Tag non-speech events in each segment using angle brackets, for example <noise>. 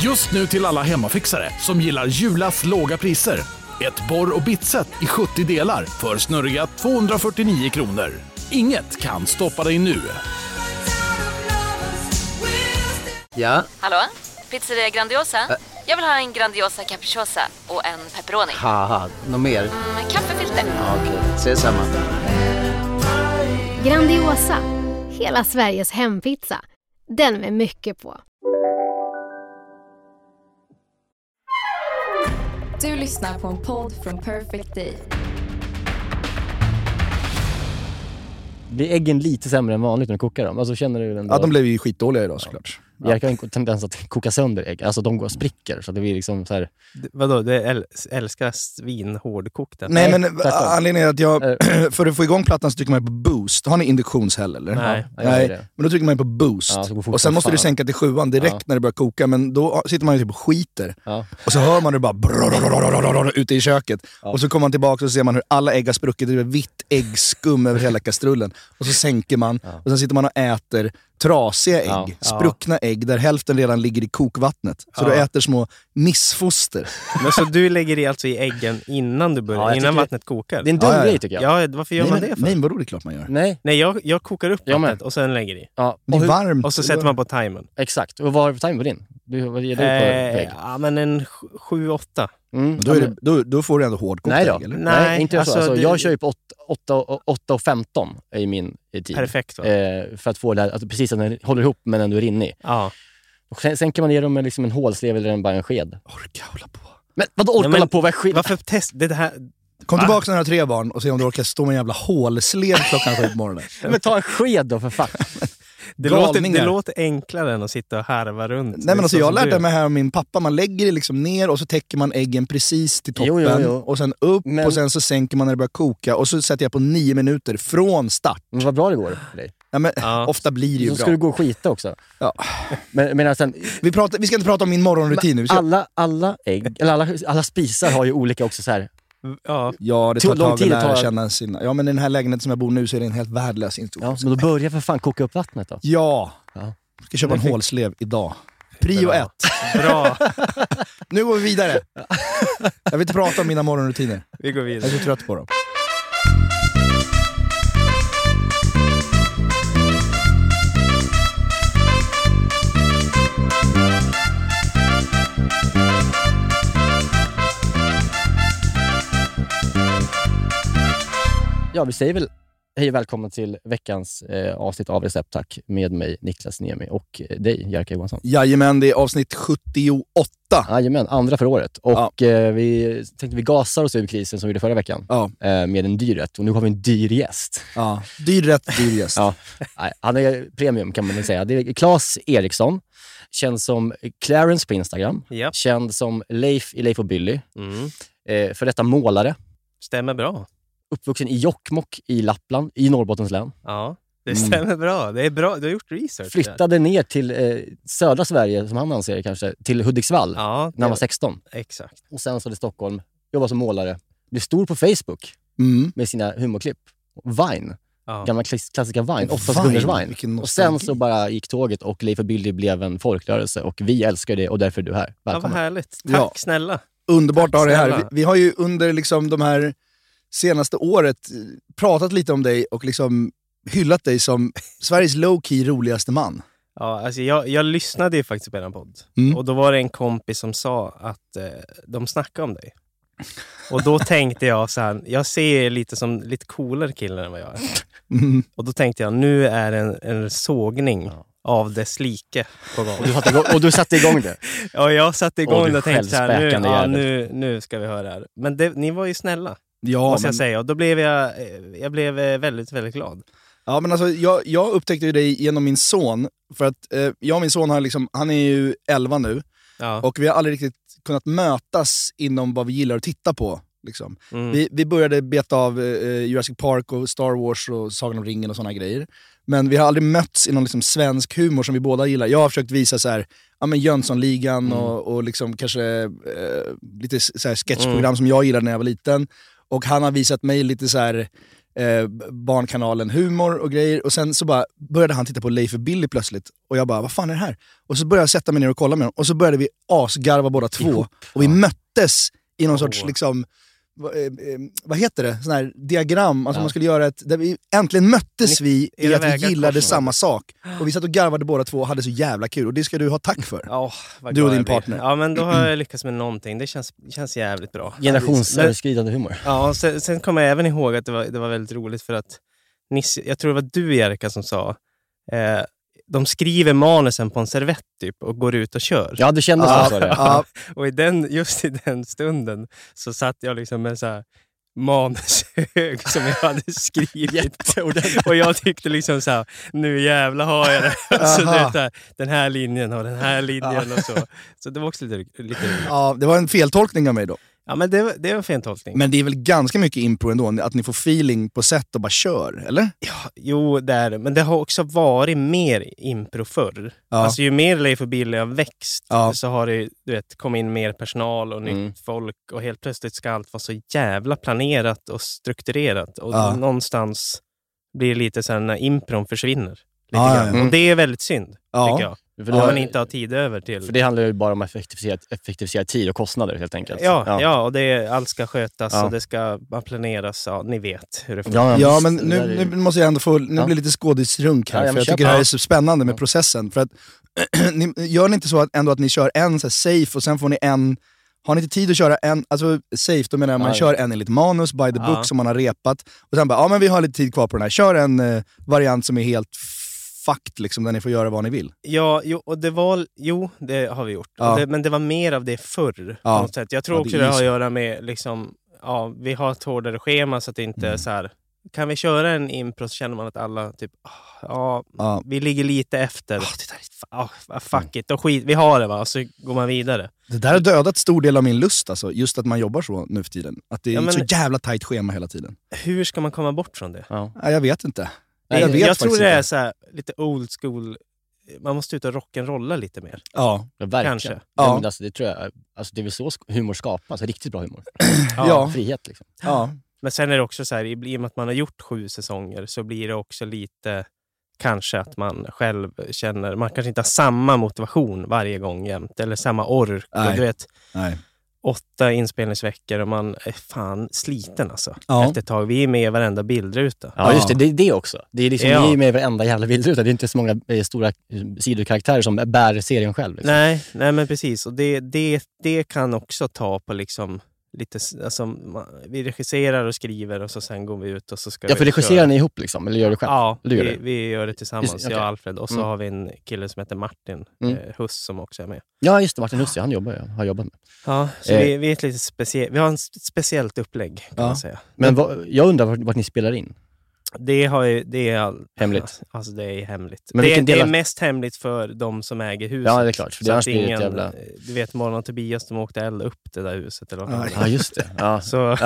Just nu till alla hemmafixare som gillar Julas låga priser. Ett borr och bitset i 70 delar för snurriga 249 kronor. Inget kan stoppa dig nu. Ja, Hallå? Pizzeria Grandiosa? Jag vill ha en Grandiosa capriciosa och en pepperoni. haha, något mer? Med kaffefilter. Ja, Okej, ses samma. Grandiosa, hela Sveriges hempizza. Den med mycket på. Du lyssnar på en podd från Perfect Day. Blir äggen lite sämre än vanligt när du kokar dem? Alltså känner du ändå... Ja, de blev ju skitdåliga idag såklart. Jag har en tendens att koka sönder ägg. Alltså de går och spricker. Så det blir liksom så här... D- Vadå, du äl- älskar svinhårdkokta? Nej, Nej, men tvärtom. anledningen är att jag... för att få igång plattan så trycker man på boost. Har ni induktionshäll eller? Nej. Ja, jag gör det. Men då trycker man på boost. Ja, så går fort och sen som måste du fan. sänka till sjuan direkt Ja. när det börjar koka, men då sitter man ju typ och skiter. Ja. Och så hör man hur det bara brrrrrrrrrrrrrrrrrrrrrr ute i köket. Och så kommer man tillbaka och så ser man hur alla ägg har spruckit. Det är vitt äggskum över hela kastrullen. Och så sänker man och sen sitter man och äter trasiga ägg, Ja. spruckna ägg där hälften redan ligger i kokvattnet. Så du Ja. äter små missfoster. Men så du lägger i alltså i äggen innan du börjar, Ja, jag innan tycker- vattnet kokar? Det är en dum Ja, ja, ja. grej tycker jag. Ja, varför gör nej, man men- det för? Nej, men vadå? Det är klart man gör. Nej. Nej, jag, jag kokar upp Jag med. vattnet och sen lägger i. Ja. Det Mm. Och, är hur, varmt. Och så sätter man på timern. exakt. Och vad har du för timing på din? Du, vad ger du på Eh, på ägg? ja, men en sj- sju, åtta. Mm. Då, är det, då, då får du ändå hårdkokt Nej då. ägg, eller? Nej, inte alltså, så. Alltså, det- Jag kör ju på 8.15 i min eh, tid. Perfekt va? Eh, för att få det här, alltså, precis att den håller ihop men ändå är inne i. Ja. Och sen, sen kan man ge dem med liksom en hålslevel eller en, bara en sked. Orka hålla på. Men vadå orkar Nej, men- hålla på? Vad är sked? Varför test? Det här... Kom tillbaka när du har tre barn och se om du orkar stå med en jävla hålsled klockan sju på morgonen. <laughs> Men ta en sked då för fan. Det låter, det Galningar. låter enklare än att sitta och härva runt. Nej men alltså Det är så jag som lärde du- mig här av min pappa, man lägger det liksom ner och så täcker man äggen precis till toppen. Jo, jo, jo. Och sen upp Men- och sen så sänker man när det börjar koka och så sätter jag på nio minuter från start. Men vad bra det går för dig. Ja, men, <laughs> Ja. Ofta blir det ju Så bra. ska du gå och skita också. Ja. Men, men sen, Vi, pratar, vi ska inte prata om min morgonrutin nu. Vi ska... alla, alla ägg, eller alla, alla spisar har ju olika också så här. Ja. Ja, det Tog tar ett lång tag att tid att lära ta- känna sina... Ja, men i den här lägenheten som jag bor nu så är det en helt värdelös Ja, instruktion. men då börja för fan koka upp vattnet då. Ja. Ja. Ska köpa en Perfekt. hålslev idag. Prio Bra. ett. <laughs> Bra, Nu går vi vidare. Jag vill inte prata om mina morgonrutiner. vi går Jag är vidare. så trött på dem. Ja, vi säger väl hej och välkomna till veckans eh, avsnitt av Recept Tack med mig Niklas Niemi och eh, dig Jerka Johansson. Jajamän, det är avsnitt 78. Jajamän, andra för året. Och eh, vi tänkte vi gasar oss ur krisen som vi gjorde förra veckan Ja. eh, med en dyr rätt och nu har vi en dyr gäst. Ja. Dyr rätt, dyr gäst. Ja. Nej, han är premium kan man väl säga. Det är Claes Eriksson, känd som Clarence på Instagram, Ja, känd som Leif i Leif och Billy, mm. eh, för detta målare, stämmer bra. uppvuxen i Jokkmokk i Lappland, i Norrbottens län. Ja, det Mm. stämmer bra. Det är bra. Du har gjort research. där. Flyttade ner till eh, södra Sverige, som han anser det kanske, till Hudiksvall Ja, när han var det, 16. exakt. Och sen så till Stockholm, jobbade som målare, blev stor på Facebook Mm. med sina humorklipp. Vine, Ja. gamla klass- klassiska Vine, åtta Vine, sekunders Vine. vilken Och sen nostalgi. så bara gick tåget och Leif och Billy blev en folkrörelse och vi älskar det och därför är du här. Ja, vad Välkommen. härligt. Tack Ja. snälla. Underbart att ha dig här. Vi, snälla. vi har ju under liksom de här senaste året eh, pratat lite om dig och liksom hyllat dig som Sveriges low-key roligaste man. Ja, alltså jag, jag lyssnade ju faktiskt på er podd. Mm. Och då var det en kompis som sa att eh, de snackade om dig. Och <laughs> då tänkte jag så här, jag ser er lite som lite coolare killar än vad jag är. Mm. Och då tänkte jag, nu är en, en sågning Ja. av dess like på gång. Och du, satte igång, och du satte igång det. Och jag Åh, satte igång du och tänkte så här, nu, självspäkande ja, jävel. nu, nu ska vi höra det här. Men det, ni var ju snälla, Ja, måste men, jag säga. Och då blev jag, eh, jag blev eh, väldigt, väldigt glad. ja, men alltså, jag, jag upptäckte ju dig genom min son. För att eh, jag och min son, har liksom, han är ju 11 nu Ja. och vi har aldrig riktigt kunnat mötas inom vad vi gillar att titta på. Liksom. mm. Vi, vi började beta av eh, Jurassic Park och Star Wars och Sagan om ringen och såna grejer. Men vi har aldrig mötts i någon liksom, svensk humor som vi båda gillar. Jag har försökt visa så här, ja, men Jönssonligan Mm. och, och liksom kanske Mm. eh, lite s- så här sketchprogram som jag gillade när jag var liten. Och han har visat mig lite så här eh, barnkanalen Humor och grejer. Och sen så bara började han titta på Leif och Billy plötsligt. Och jag bara, vad fan är det här? Och så började jag sätta mig ner och kolla med honom. Och så började vi asgarva båda två. Ihop, och vi ja. möttes i någon sorts, Åh. liksom, va- eh, eh, vad heter det? Sån här diagram. Alltså Ja. man skulle göra ett... Där vi, äntligen möttes vi Era i att vi vägar gillade korsar samma sak. Och vi satt och garvade båda två och hade så jävla kul. Och det ska du ha tack för. Åh, vad Du och glad din jag blir. partner. Ja, men då har jag lyckats med någonting. Det känns, känns jävligt bra. Generationsöverskridande humor. Ja, och sen, sen kommer jag även ihåg att det var, det var väldigt roligt för att Nisse, jag tror det var du Jerka som sa, eh, de skriver manusen på en servett typ och går ut och kör. Ja, det kändes så. sa det. ja, Och i den, just i den stunden så satt jag liksom med en så här manushög som jag hade <laughs> skrivit. Jätteordentligt. och jag tyckte liksom så här, nu jävla har jag det. <laughs> alltså, du Aha. vet, så här, den här linjen och den här linjen och så. Så det var också lite, lite roligt. ja, det var en feltolkning av mig då. Ja, men det, var- det var en fin tolkning. Men det är väl ganska mycket impro ändå? Att ni får feeling på set och bara kör, eller? Jo, det är det. Men det har också varit mer impro förr. Ja. Alltså, ju mer Leif och Billy har växt Ja. så har det du vet, kommit in mer personal och nytt Mm. folk och helt plötsligt ska allt vara så jävla planerat och strukturerat. Och Ja. någonstans blir det lite så här när impron försvinner. Lite Ja, ja, Mm. grann. ja. Och det är väldigt synd, Ja. tycker jag. För Om det, man inte har tid över till... för det handlar ju bara om att effektivisera, effektivisera tid och kostnader helt enkelt. Ja, ja. och det, är- allt ska skötas alltså, Ja. och det ska bara planeras. Ja, ni vet hur det funkar. Ja, Ja, men visst. Det där är nu, ju- nu måste jag ändå få... Nu Ja. blir det lite skådisrunk här, Ja, ja, för men jag kör tycker det här på. är så spännande med Ja. processen. För att, <clears throat> ni, gör ni inte så att, ändå att ni kör en så här, safe och sen får ni en... Har ni inte tid att köra en, alltså safe, då menar jag man Ja, ja. kör en enligt manus, by the Ja. book, som man har repat. Och sen bara, ja men vi har lite tid kvar på den här. Kör en eh, variant som är helt fucked, liksom, där ni får göra vad ni vill. Ja, jo, och det var, jo, det har vi gjort. Ja. Och Det, men det var mer av det förr. Ja. På något sätt. Jag tror Ja, det också är det ju har så. att göra med, liksom, ja, vi har ett hårdare schema så att det inte är så här, kan vi köra en impro så känner man att alla typ, ah, ja, Ja. vi ligger lite efter. Ah, ah, fuck it, då skit, vi har det va, så går man vidare. Det där har dödat stor del av min lust, alltså, just att man jobbar så nu för tiden. Att det är Ja, men- så jävla tajt schema hela tiden. Hur ska man komma bort från det? Ja. Nej, jag vet inte. Nej, jag jag vet tror faktiskt det är inte. så här, lite old school, man måste ut och rock'n'rolla lite mer. Ja. Ja, verkligen. Kanske. Ja. Ja. men alltså, det tror jag. Alltså, det är väl så sk- humor skapas. Riktigt bra humor. Ja. Ja. Frihet liksom. ja. Men sen är det också så här, i i och med att man har gjort sju säsonger så blir det också lite kanske att man själv känner, man kanske inte har samma motivation varje gång jämt, eller samma ork. Och Nej. du vet, Nej. åtta inspelningsveckor och man är fan sliten alltså. Ja. Efter ett tag. Vi är med i varenda bildruta. Ja, just det. Det är det också. Det är liksom, Ja. ni är ju med i varenda jävla bildruta. Det är inte så många eh, stora eh, sidokaraktärer som bär serien själv. Liksom. Nej, nej men precis. Och det, det, det kan också ta på liksom lite, s- alltså, man, vi regisserar och skriver och så sen går vi ut och så ska Ja, vi för köra. regisserar ni ihop liksom, eller gör du själv? Ja, Du gör vi, det? vi gör det tillsammans, Just- okej. jag och Alfred. Och så Mm. har vi en kille som heter Martin Mm. eh, Huss som också är med. Ja, just det. Martin Husse, han jobbar, ju- har jobbat med. Ja, så Eh. vi, vi, är ett lite specie- vi har en s- speciellt upplägg kan Ja. man säga. Men vad, jag undrar vart, vart ni spelar in? Det, har ju, det är all- Hemligt. Alltså det är hemligt. Men det, vilken del det är av- mest hemligt för de som äger huset. Ja, det är klart, för det Så annars att blir det ett ingen- eh, jävla- Du vet Morgon och Tobias, de åkte och eldade upp det där huset. Eller vad Ja, fan det Ja, var. just det. <laughs> Ja. <laughs> Så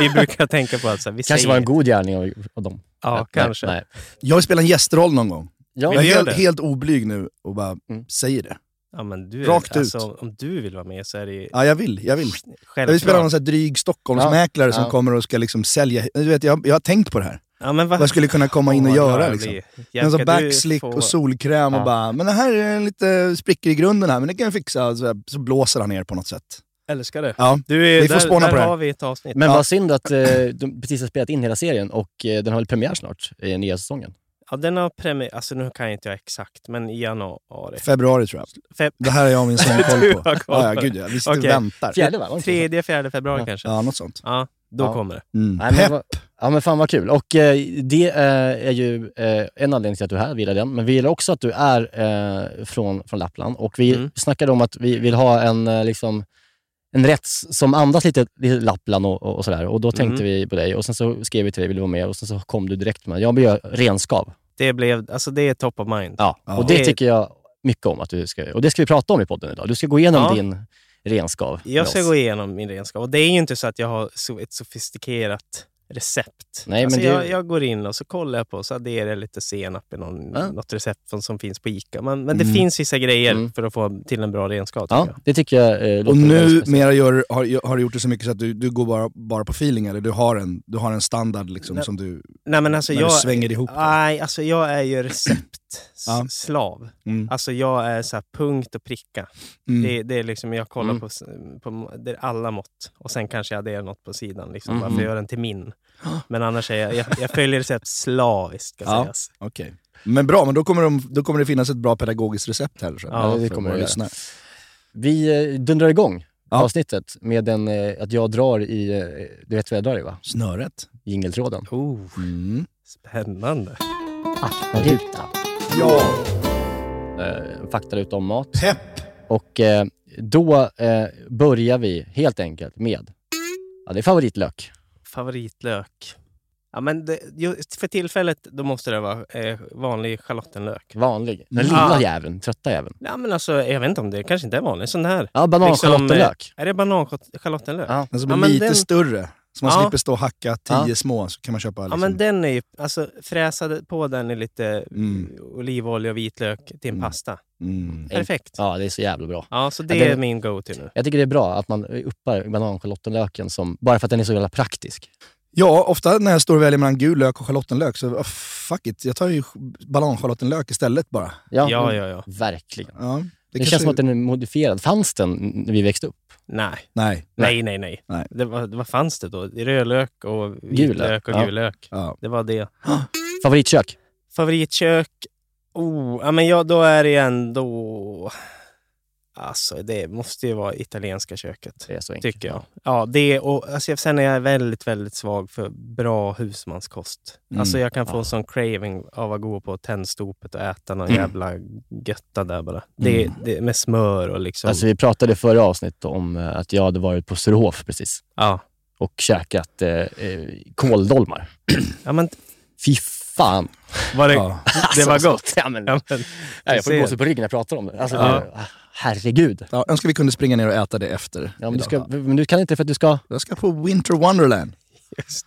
vi brukar tänka på att så här, vi kanske säger... var en god gärning av, av dem. Ja, Nej, kanske. Nej. Jag vill spela en gästroll någon gång. Ja, jag är gör helt, det. helt oblyg nu och bara Mm. säger det. Ja, men du, Rakt ut. alltså, Om du vill vara med så är det ju Ja, jag vill. Jag vill, jag vill spela någon självklart. sån här dryg Stockholmsmäklare som Ja. kommer och ska liksom sälja. Du vet, jag, jag har tänkt på det här. Ja, men Vad jag skulle kunna komma in och Åh, göra. vad Liksom. rörlig. En sån Jerka, du backslick får- och solkräm Ja. och bara, men det här är lite sprickor i grunden här, men det kan jag fixa. Så, så blåser han ner på något sätt. Älskar det. Ja. Du, är- Vi får där, spåna där på det här. har vi ett avsnitt. Men Ja. vad synd att eh, de precis har spelat in hela serien och eh, den har väl premiär snart, i nya säsongen. Ja, den har premiär... Alltså nu kan jag inte jag exakt, men i januari. Februari tror jag. Fe- Det här har jag och min <laughs> son koll Du på. har koll Ja, ja, på det. gud ja. Vi sitter och Okej. väntar. Fjärde va? Var det inte Tredje, fjärde februari Ja. kanske. Ja, något sånt. Ja, då Ja. kommer det. Mm. Nej, men Pepp. vad- Ja men fan vad kul. Och eh, det eh, är ju eh, en anledning till att du är här, vi gillar den. Men vi gillar också att du är eh, från, från Lappland. Och vi Mm. snackade om att vi vill ha en, eh, liksom, en rätt s- som andas lite, lite Lappland och, och, och sådär. Och då tänkte Mm. vi på dig och sen så skrev vi till dig, vill du vara med? Och sen så kom du direkt med, jag vill göra renskav. Det blev... Alltså det är top of mind. Ja. Ja. Och det tycker jag mycket om att du ska Och det ska vi prata om i podden idag. Du ska gå igenom Ja. din renskav med Jag ska oss. gå igenom min renskap. Och det är ju inte så att jag har so- ett sofistikerat recept. Nej, alltså men det- jag, jag går in och så kollar jag på så adderar jag lite senap i någon, Ja. något recept som, som finns på Ica. Men, men det Mm. finns vissa grejer Ah. Mm. för att få till en bra renskada. Ja, tycker det tycker jag eh, låter Och väldigt nu speciellt. mera gör, har, har du gjort det så mycket så att du, du går bara, bara på feeling, eller du har en, du har en standard liksom, Nej. som du, jag. Nej, men alltså, när jag, du svänger ihop? den? Nej, alltså jag är <clears throat> ju Ja. receptslav. Mm. Alltså jag är så här punkt och pricka. Mm. Det, det är liksom, jag kollar Mm. på, s- på det är alla mått och sen kanske jag adderar något på sidan. Liksom, Mm. Bara för att göra den <gasps> till min. Men annars är jag, jag, jag följer recept slaviskt ska Ja. sägas. Okej. Men bra, men då kommer, de, då kommer det finnas ett bra pedagogiskt recept här. Så. Ja, det för kommer våra det. lyssnare. Vi eh, dundrar igång Ja. avsnittet med en, eh, att jag drar i, eh, du vet vad jag drar i va? Snöret. Jingeltråden. Oh, Mm. spännande. Faktaruta. Ja! Eh, faktaruta om mat. Pepp! Och eh, då eh, börjar vi helt enkelt med, ja det är favoritlök. Favoritlök. Ja, men det, just för tillfället då måste det vara eh, vanlig schalottenlök. Vanlig. Den Mm. lilla Ah. jäveln, trötta jäveln. Ja, men alltså, jag vet inte om det kanske inte är vanligt. Sån här. Ja, bananschalottenlök. Är det bananschalottenlök? Ja. Den som Ja, är men lite den- större, så man Ja. slipper stå och hacka tio Ja. små, så kan man köpa Ja, liksom, men den är ju, alltså, fräsa på den i lite Mm. olivolja och vitlök till en Mm. pasta. mm. Perfekt. Ja, Ja, det är så jävla bra. så det Ja, den- är min go-to nu. Jag tycker det är bra att man uppar bananschalottenlöken som, bara för att den är så jävla praktisk. Ja, ofta när jag står och väljer mellan gul lök och schalottenlök så oh, fuck it, jag tar ju bananschalottenlök istället bara. Ja, ja, ja. Verkligen. Ja, det Det, kanske- känns som att den är modifierad. Fanns den när vi växte upp? Nej, Nej. nej, nej. nej. Nej. Det var, vad fanns det då? Rödlök och vitlök och Ja. gul lök. Ja. Det var det. Favoritkök? Favoritkök? Oh, ja, men ja, då är det ändå... Alltså, det måste ju vara italienska köket. Det är så enkelt. Tycker jag. Ja, det och alltså, sen är jag väldigt, väldigt svag för bra husmanskost. Mm. Alltså jag kan få Ja. en sån craving av att gå på tändstopet och äta någon Mm. jävla götta där bara. Det, Mm. det, med smör och liksom... Alltså, vi pratade i förra avsnittet om eh, att jag hade varit på Sturehof precis ja. och käkat eh, eh, kåldolmar. ja, men Fy fan! var det, Ja. <laughs> det var Alltså, gott. Ja, men, Ja, men, nej, jag får ser. gåshud på ryggen när jag pratar om det. Alltså, Ja. det- ah, herregud. Ja, önskar vi kunde springa ner och äta det efter. Ja, men, du ska, idag. men du kan inte för att du ska... Jag ska på Winter Wonderland.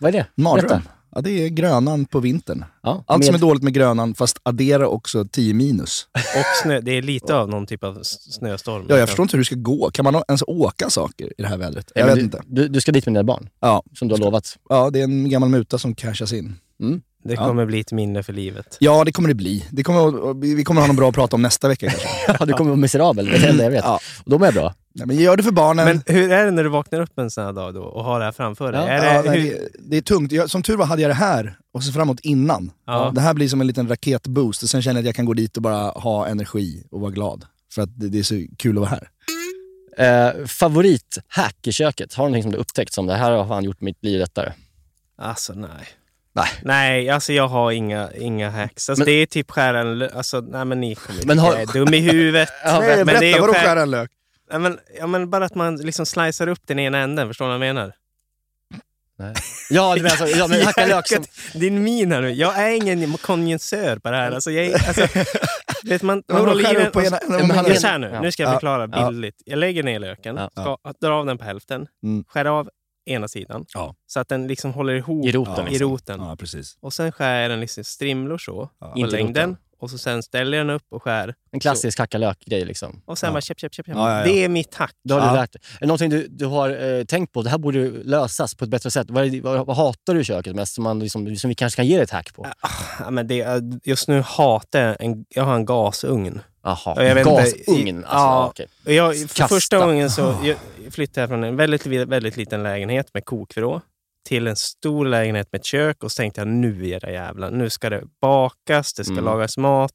Vad är det? Mardröm. Berätta. Ja, det är grönan på vintern. Ja, Allt som är med- dåligt med grönan, fast addera också 10 minus. och snö, det är lite av någon typ av s- snöstorm. Liksom. Ja, jag förstår inte hur du ska gå. Kan man ens åka saker i det här vädret? Jag Nej, vet men inte. Du, du, du ska dit med dina barn, Ja. som du har <laughs> lovat. ja, det är en gammal muta som cashas in. Det Ja. kommer bli ett minne för livet. Ja, det kommer det bli. Det kommer, att- vi kommer att ha något bra att prata om nästa vecka kanske. <laughs> Ja, du kommer vara miserabel, det är det enda jag vet. Ja. Och de är bra. Nej, men gör det för barnen. Men hur är det när du vaknar upp en sån här dag då och har det här framför dig? Ja. Är ja, det, nej, eh, hur, det, det är tungt. Jag, som tur var hade jag det här och så framåt innan. Ja. Det här blir som en liten raketboost och sen känner jag att jag kan gå dit och bara ha energi och vara glad. För att det, det är så kul att vara här. Eh, favorithack i köket? Har du någonting som du upptäckt som det här har fan gjort mitt liv lättare? Alltså nej. Nej. Nej, alltså jag har inga, inga hacks. Alltså, Men- det är typ skära en lö- Alltså, nej men ni kommer Men har- Jag är dum i <laughs> huvudet. Nej, men berätta, ju vadå skär- skära en lök? Ja, men, ja, men bara att man liksom slicear upp den ena änden, förstår du vad jag menar? Ja, du menar så, ja, men hacka lök <laughs> som... Din min här nu. Jag är ingen konjensör på det här. Alltså, jag <laughs> är, alltså, vet man, man Vadå, håller i skära den... upp på ena- men han- Lyssna här nu, Ja. nu ska jag Ja. förklara Ja. bildligt. Jag lägger ner löken, Ja. ska, drar av den på hälften, Mm. skär av ena sidan Ja. så att den liksom håller ihop I roten, I liksom. roten. Ja, precis. Och sen skär jag den liksom strimlor så, på Inte längden. roten. Och så sen ställer jag den upp och skär. En klassisk hacka lök-grej liksom. Och sen Ja. bara käpp, käpp, käpp. käpp. Ja, ja, ja. Det är mitt hack. Det har Ja. du lärt dig. Är det någonting du, du har eh, tänkt på? Det här borde lösas på ett bättre sätt. Vad, är det- vad, vad hatar du i köket mest som, man, liksom, som vi kanske kan ge dig ett hack på? Ja, men det, är- just nu hatar jag en, jag har en gasugn. Jaha, Ja, jag vet inte. gasugn. Alltså, Ja. okej. Och Jag, för Kasta. första gången så Ah. jag flyttade jag från en väldigt, väldigt liten lägenhet med kokvrå till en stor lägenhet med ett kök och så tänkte jag nu era jävlar, nu ska det bakas, det ska Mm. lagas mat.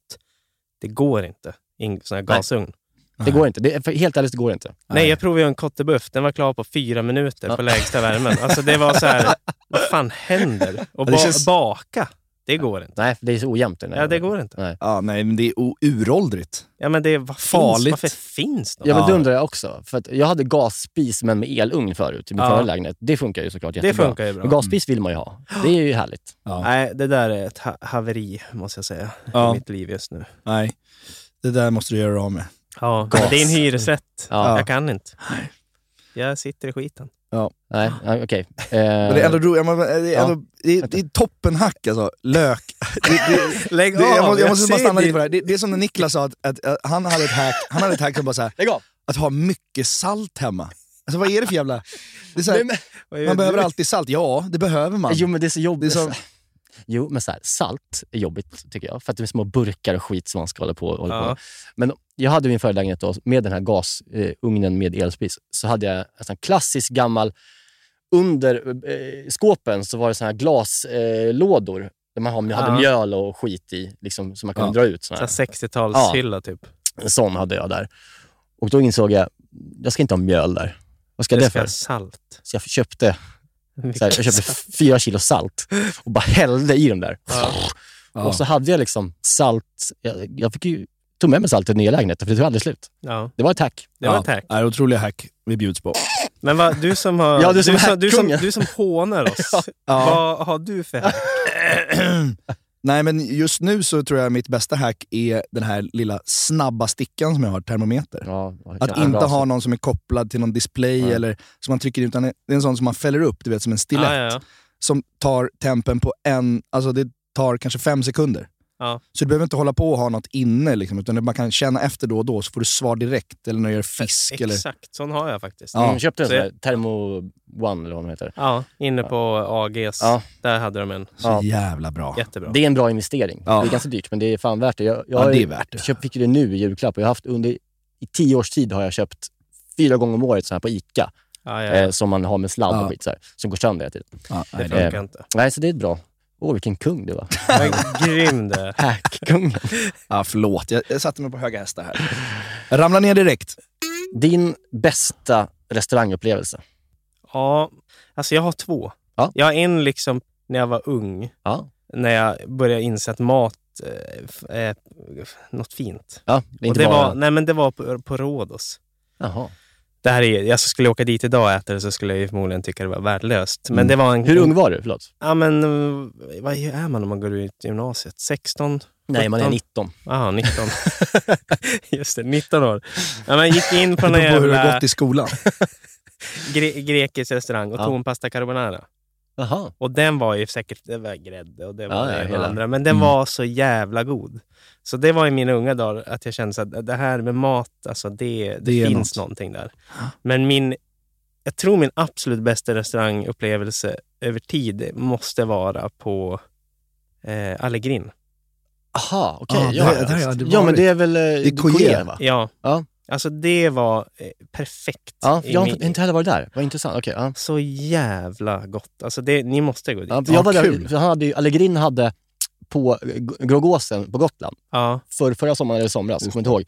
Det går inte i en sån här Nej. gasugn. Det går inte. Det, är- för, helt ärligt, det går inte. Nej, Nej. jag provade ju en kottebuff. Den var klar på fyra minuter Ja. på lägsta värmen. Alltså det var så här, vad fan händer? Och Ja, ba det känns- baka, det går inte. Nej, för det är så ojämnt. den här Ja, det jäveln. går inte. Ja, nej, men det är o- uråldrigt. Ja, men det vad Farligt. Finns, varför finns de? Ja, men Ja. det undrar jag också. För att jag hade gasspis men med elugn förut i min Ja. förra lägenhet. Det funkar ju såklart det jättebra. funkar ju bra. Men gasspis vill man ju ha. Det är ju härligt. Nej, det där är ett ha haveri, måste jag säga, Ja. i mitt liv just nu. Nej, det där måste du göra av med. Ja, det är en hyresrätt. Ja. Jag kan inte. Jag sitter i skiten. Ja. <gasps> Nej, nej, okej. Eh, Men det är ändå, ro- jag, men, det är ändå det, är, det är toppenhack alltså. Lök. Det, det, Lägg det, jag måste, jag måste bara ser stanna lite din- på det här. Det, det är som när Niklas sa, att, att, att han hade ett hack, han hade ett hack som bara så här, Lägg av! att ha mycket salt hemma. Alltså vad är det för jävla... Det är så här, Nej, men- Vad gör man du? behöver alltid salt. Ja, det behöver man. Eh, Jo, men det är så Det är jobbigt. så- Jo, men så här, salt är jobbigt tycker jag. För att det är små burkar och skit som man ska hålla på och hålla på Ja. med. Men jag hade min förra lägenhet då, med den här gasugnen eh, ugnen med elspis, så hade jag en sån klassisk gammal... Under eh, skåpen så var det såna här glaslådor eh, lådor där man har, hade Ja. mjöl och skit i, liksom, som man kunde Ja. dra ut. Såna Så här här. 60-talshylla typ. En sån hade jag där. Och då insåg jag, jag ska inte ha mjöl där. Vad ska Det det, ska för? ha salt. Så jag köpte så här, jag köpte fyra kilo salt och bara hällde i dem där. Ja. Och så hade jag liksom salt. Jag, jag fick ju, tog med mig salt till nya lägenheten, för det tog aldrig slut. Ja, Det var ett hack. det var Ja. ett hack. Ja, det är otroliga hack vi bjuds på. <clears throat> Men vad, du som har... Ja, du som du, är du, som, hackkungen. du som hånar <laughs> oss. Ja. Vad har du för hack? Nej, men just nu så tror jag mitt bästa hack är den här lilla snabba stickan som jag har, termometer. Ja, alltså- det kan Att vara inte bra. ha någon som är kopplad till någon display Nej. eller som man trycker in, utan det är en sån som man fäller upp, du vet som en stilett. Ja, ja, ja. Som tar tempen på en, alltså det tar kanske fem sekunder. Ja. Så du behöver inte hålla på och ha något inne, liksom, utan man kan känna efter då och då så får du svar direkt. Eller när du gör fisk. Eller, Exakt, sån har jag faktiskt. Ja. Mm, köpte en Så sån jag- här Thermo One, eller vad de heter. Ja, inne på AGs. Ja. Där hade de en. så jävla bra. Jättebra. Det är en bra investering. Ja. Det är ganska dyrt, men det är fan värt det. Jag, jag Ja, har det ju- är värt det. köpt, fick ju det nu i julklapp. och Jag har haft under, I tio års tid har jag köpt fyra gånger om året sån här på ICA, Ja, ja, eh, ja. som man har med sladd Ja. och skit, så här, som går sönder hela tiden. Ja, Det nej, det, funkar inte. Nej, så det är bra. Åh, vilken kung du <laughs> var. Men grym du är. Hackkungen. ja, förlåt, jag, jag satte mig på höga hästar <laughs> här. Jag ramlar ner direkt. Din bästa restaurangupplevelse? Ja, alltså jag har två. Ja. Jag har en liksom när jag var ung, Ja. när jag började inse att mat eh, f- eh, f- något fint. ja det är Och inte det, bara... var, nej, men det var på, på Rhodos. Jaha. Det här är, jag skulle åka dit idag och äta det så skulle jag ju förmodligen tycka det var värdelöst. Men Mm. det var en... Hur ung var du? Förlåt. Ja, men eh, vad är man om man går ut gymnasiet? 16? Nej, man är 19. Jaha, 19. <laughs> Just det, 19 år. Ja, men gick in på Det någon beror på hur det har jävla gått i <laughs> skolan. gre- grekisk restaurang och Ja. tog en pasta carbonara. Jaha. Och den var ju säkert, det var grädde och det var Ja, det ja, ena och hela. andra. Men den Mm. var så jävla god. Så det var i mina unga dagar att jag kände så att det här med mat, alltså det, det, Det är finns något. någonting där. Men min, jag tror min absolut bästa restaurangupplevelse över tid måste vara på eh, Allegrin. Aha, okej. Ja, ja, det- det har jag aldrig ja, men varit. det är väl eh, är Koje. Koje, va? Ja. Ja. Alltså det var eh, perfekt. Ja, i jag har min- inte heller varit där. Vad intressant. Okej. ja. Så jävla gott. Alltså det, ni måste gå dit. ja. Ja. jag var där, kul. för han hade ju, Allegrin hade på eh, G- Grågåsen på Gotland, ja. för, förra sommaren eller somras, jag kommer inte ihåg,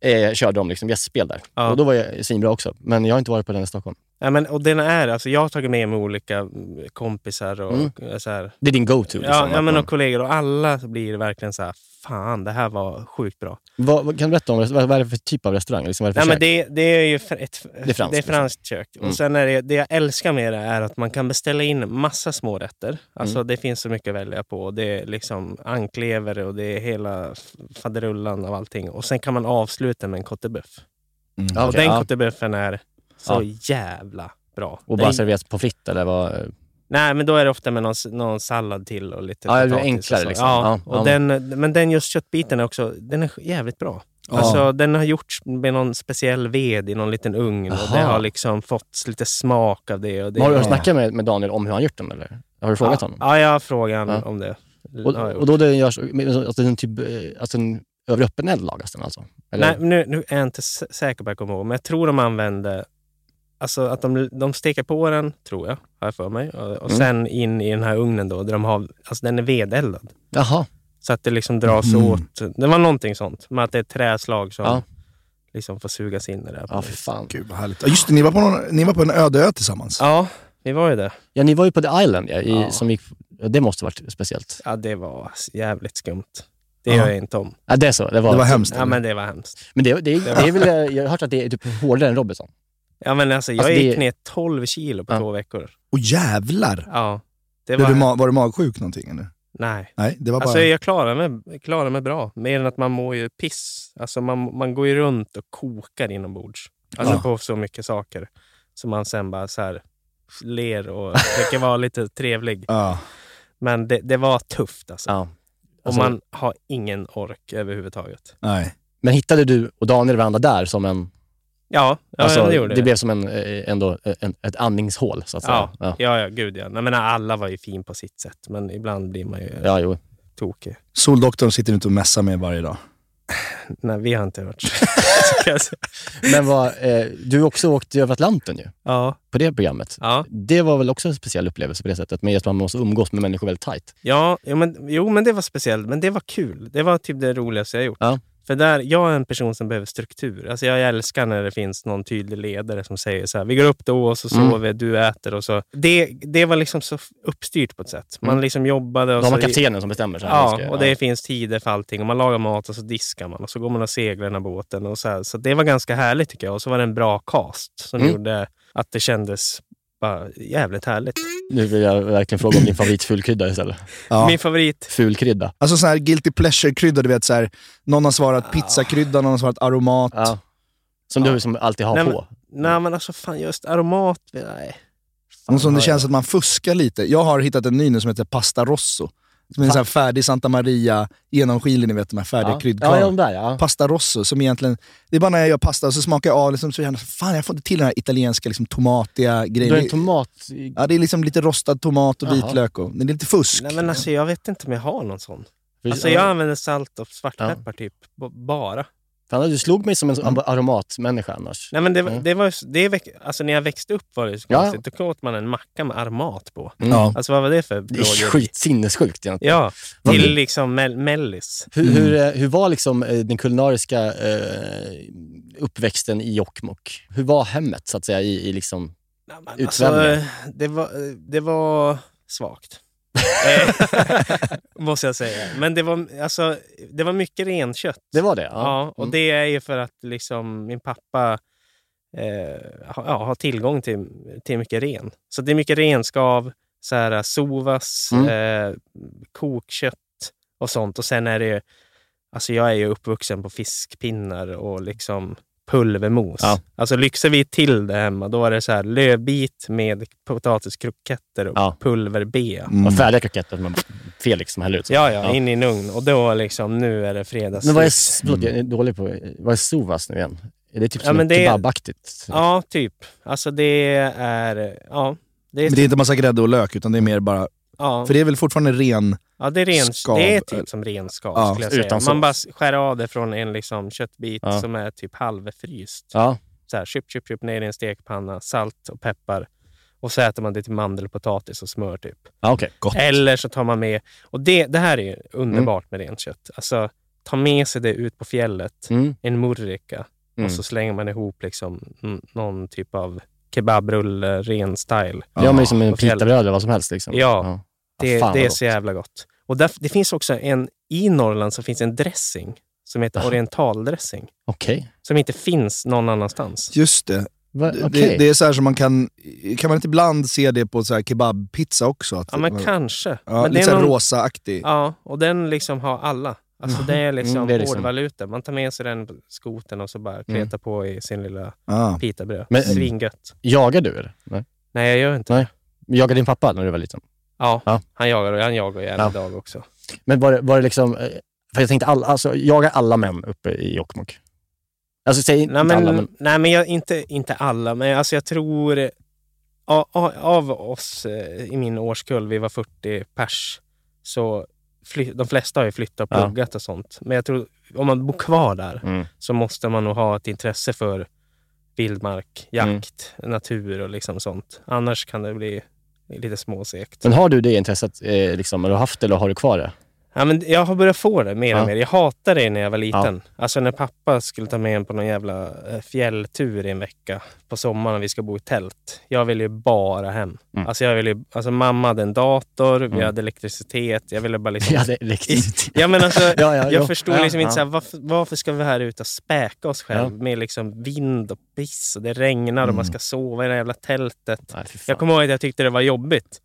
eh, körde de liksom gästspel där. Ja. Och då var jag svinbra också, men jag har inte varit på den i Stockholm. men, och den är, alltså jag har tagit med mig olika mm, kompisar och eh, så här, Det är din go-to. Liksom, Ja, ja att men man- och kollegor och alla blir verkligen så här, fan det här var sjukt bra. vad, vad, kan du berätta om vad, vad är det för typ av restaurang? Liksom, vad är det för Nej, men kök? det, det är ju fr- ett, är franskt, det är franskt kök. Mm. Och sen är det, det jag älskar med det är att man kan beställa in massa små rätter. Alltså Mm. det finns så mycket att välja på. Det är liksom anklever och det är hela f- faderullan av allting. Och sen kan man avsluta med en cote boeuf. Mm. Ja, och okej, den ja. cote boefen är så Ja. jävla bra. Och bara Den- serveras på fritt eller vad? Nej, men då är det ofta med någon, någon sallad till och lite Ja, det blir potatis enklare och så. liksom. Ja, Ja, och ja. Den, men den just köttbiten är också den är jävligt bra. Ja. Alltså, den har gjorts med någon speciell ved i någon liten ugn och Aha. det har liksom fått lite smak av det. Och det har du ja. snackat med, med Daniel om hur han gjort den eller? Har du frågat honom? Ja, jag har frågat Ja. om det. Och, Ja, jag har och gjort. då det görs, men att den typ, eh, att den över öppen eld lagas den alltså? Eller? Nej, nu, nu är jag inte sä- säker på att jag kommer ihåg, men jag tror de använde... Alltså att de, de steker på den, tror jag, har jag för mig. Och, och Mm. sen in i den här ugnen då, där de har... Alltså den är vedeldad. Jaha, Så att det liksom dras Mm. åt. Det var någonting sånt. Med att det är ett träslag som Ja. liksom får sugas in i det. Här. ja för fan. Gud vad härligt. Ja, just det, ni var, på någon, ni var på en öde ö tillsammans. ja, vi var ju det. Ja, ni var ju på The Island ja, i, Ja. som gick, ja, det måste varit speciellt. Ja, det var jävligt skumt. Det Ja. gör jag inte om. Ja, det är så. Det var, Det var hemskt. Ja, men det var hemskt. Men det, det, det, är väl, eh, jag har hört att det är typ hårdare än Robinson. Ja, men alltså, jag Alltså, det- gick ner 12 kilo på Ja. två veckor. Och jävlar! Ja, det Var... var... Du, ma- var du magsjuk någonting? Eller? Nej. Nej, det var bara... Alltså jag klarar mig, klarar mig bra. Mer än att man mår ju piss. Alltså man, man går ju runt och kokar inombords. Alltså Ja. på så mycket saker. Som man sen bara så här ler och <laughs> försöker vara lite trevlig. Ja. Men det, det var tufft alltså. Ja. och man har ingen ork överhuvudtaget. Nej. Men hittade du och Daniel varandra där som en... Ja, ja alltså, det gjorde det. blev som en, eh, ändå eh, en, ett andningshål, så att ja, säga. ja. ja, gud ja. Nej, men alla var ju fin på sitt sätt, men ibland blir man ju Ja, jo. tokig. Soldoktorn sitter vi inte och messar med varje dag. Nej, vi har inte hört. Så kan jag säga. Men vad, eh, du har också åkt över Atlanten ju, <laughs> ja, på det programmet. ja. Det var väl också en speciell upplevelse på det sättet, men just att man måste umgås med människor väldigt tajt. Ja, jo men, jo, men det var speciellt. Men det var kul. Det var typ det roligaste jag gjort. Ja. För där, jag är en person som behöver struktur. Alltså jag älskar när det finns någon tydlig ledare som säger så här, vi går upp då och så Mm. sover du äter och så. Det, det var liksom så uppstyrt på ett sätt. Man Mm. liksom jobbade Då och har så... man kaptenen som bestämmer. Så här, nu Ja, ska- och det finns tider för allting. Och man lagar mat och så diskar man och så går man och seglar den här båten. Och så, här. så det var ganska härligt tycker jag. Och så var det en bra cast som Mm. gjorde att det kändes bara jävligt härligt. Nu vill jag verkligen fråga om din favoritfulkrydda istället. Ja. Min favorit Fulkrydda. Alltså sån här guilty pleasure-krydda, du vet så här, någon har svarat pizzakrydda, någon har svarat aromat. Ah. Ja. Som du som alltid har Nej, på. Nej, men alltså fan, just aromat... Nej. Någon som det känns att man fuskar lite. Jag har hittat en ny nu som heter pasta rosso. Som är en sån här färdig Santa Maria, genomskinlig, ni vet de här färdiga ja. kryddkorven. Ja, ja, de där ja. Pasta rosso, som egentligen... Det är bara när jag gör pasta och så smakar jag av, liksom, så känner jag fan jag får inte till den här italienska liksom, tomatiga Du grejen. har en Det- tomat... Ja, det är liksom lite rostad tomat och Jaha. vitlök. Och, men det är lite fusk. Nej, men alltså, jag vet inte om jag har någon sån. Alltså, jag använder salt och svartpeppar typ. B- bara. Fan, du slog mig som en mm. aromatmänniska annars. Nej, men det, Mm. det var, ju s- det väck, alltså, när jag växte upp var det ju så Ja. konstigt. Då åt man en macka med aromat på. Mm. Ja. Alltså vad var det för Det är blågrej? skit, sinnessjukt egentligen. Ja, Vad- till liksom mel- mellis. Hur, hur, eh, hur var liksom eh, den kulinariska eh, uppväxten i Jokkmokk? Hur var hemmet så att säga? I, i liksom... Nej, men alltså- Utvändiga. det, var, det var svagt. Eh, <laughs> Måste jag säga. Men det var, alltså, det var mycket renkött. Det var det? Ja. Ja, och Mm. det är ju för att liksom min pappa eh, ha- ja, har tillgång till, till mycket ren. Så det är mycket renskav, så här, äh, sovas, Mm. eh, kokkött och sånt. Och sen är det ju, alltså jag är ju uppvuxen på fiskpinnar och liksom pulvermos. Ja. Alltså lyxar vi till det hemma, då är det så här lövbit med potatiskroketter och Ja. pulverbea. Och Mm. Färdiga kroketter med Felix som häller ut. Ja, ja, in i en ugn. Och då liksom, nu är det fredags. Men vad är, förlåt, jag är dålig på... Vad är sovas nu igen? Är det typ Ja, som men en det- kebabaktigt? Ja, typ. Alltså det är... Ja, det är, Men det är inte massa grädde och lök, utan det är mer bara... ja, För det är väl fortfarande ren... ja, det är, ren, skav- det är typ som renskav, Ja, skulle jag säga. utan Man sås. bara skär av det från en liksom köttbit Ja. som är typ halvfryst. Ja. Så här, chup, chup, chup, ner i en stekpanna, salt och peppar. Och så äter man det till mandelpotatis och smör typ. ja okej. Gott. Eller så tar man med... Och det, det här är Mm. ju underbart med rent kött. Alltså, ta med sig det ut på fjället, Mm. en murrika, Mm. och så slänger man ihop liksom n- någon typ av kebabrulle, ren style. Ja, men liksom en på fjället. pitabröd eller vad som helst. Liksom. Ja, Det, fan, det vad är gott. så jävla gott. Och där, det finns också en, i Norrland så finns en dressing som heter Aha. orientaldressing. Okej. Som inte finns någon annanstans. Just det. Va- Det- Det, okej. det är så här som man kan... Kan man inte ibland se det på så här kebabpizza också? Att Ja, men kanske. Ja, men lite så här någon- rosa-aktig. Ja, och den liksom har alla. Alltså det är liksom Mm, det är liksom- Mm. hårdvaluta. Man tar med sig den på skoten och så bara kletar på i sin lilla Ah. pitabröd. Men- Svingött. Jagar du eller? Nej. Nej, jag gör inte Nej. det. Jagade din pappa när du var liten? Ja, Ja. han jagar och han jagar ju än Ja. idag också. Men var det, var det liksom... eh, För jag tänkte, all, alltså, jagar alla män uppe i Jokkmokk? Alltså säg inte Nej, men, alla, men... nej, men jag, inte, inte alla, men alltså jag tror eh, a- a- av oss eh, i min årskull, vi var 40 pers, så fly, de flesta har ju flyttat och Ja. pluggat och sånt. Men jag tror, om man bor kvar där, Mm. så måste man nog ha ett intresse för vildmark, Mm. jakt, natur och liksom sånt. Annars kan det bli lite småsekt. Men har du det intresset, eh, liksom, har du haft det eller har du kvar det? Ja, men jag har börjat få det mer och Ja. mer. Jag hatade det när jag var liten. Alltså när pappa skulle ta med en på någon jävla eh, fjälltur i en vecka på sommaren. Vi ska bo i tält. Jag ville ju bara hem. Mm. Alltså, jag ville ju, alltså mamma hade en dator, vi Mm. hade elektricitet. Jag ville bara <laughs> liksom... Ja, det är riktigt. Ja, men alltså, <laughs> Ja, ja, jo. jag förstod Ja, liksom ja. inte så här, varför, varför ska vi här ute och späka oss själv med liksom vind och piss och det regnar och Mm. man ska sova i det här jävla tältet. Nej, fy fan. Jag kommer ihåg att jag tyckte det var jobbigt.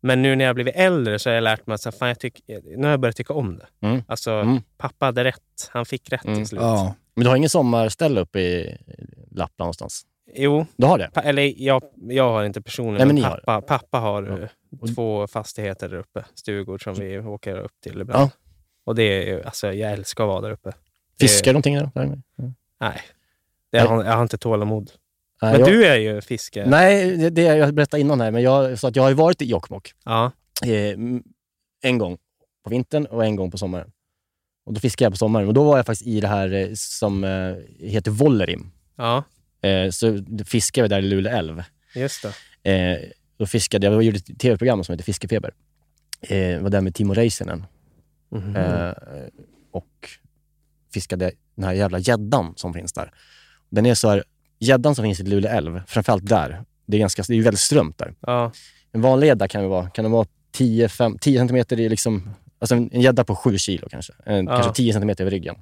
Men nu när jag blivit äldre så har jag lärt mig att så här, fan, jag tyck, nu har jag börjat tycka om det. Mm. Alltså, Mm. pappa hade rätt. Han fick rätt Mm. till slut. Ja. Men du har ingen sommarställe uppe i Lappland någonstans? Jo, Du har det? pa, eller jag, jag har inte personligen, Nej, men ni men har det. pappa har, pappa har eh, Och- två fastigheter där uppe. Stugor som vi åker upp till ibland. Ja. Och det är, ju- alltså, jag älskar att vara där uppe. Det- Fiskar någonting? Där? Nej. Nej, det, jag, har, jag har inte tålamod. Nej, Men jag, du är ju fiske. Nej, det- det jag berättade innan här, men jag sa att jag har ju varit i Jokkmokk Ja. eh, m- en gång på vintern och en gång på sommaren. Och Då fiskade jag på sommaren och då var jag faktiskt i det här eh, som eh, heter Vollerim. ja, Eh, så fiskade vi där i Luleå älv. just det. Eh, då fiskade jag, jag gjorde ett tv-program som heter Fiskefeber. Eh, var där med Timo Räisänen Mhm. eh, och fiskade den här jävla gäddan som finns där. Den är så här, gäddan som finns i Luleå älv, framförallt där, det är, ganska, det är ju väldigt strömt där. Ja, En vanlig gädda kan det vara, kan det vara 10, fem- 10 centimeter i liksom, alltså en en gädda på 7 kilo kanske. En, Ja. Kanske 10 centimeter över ryggen.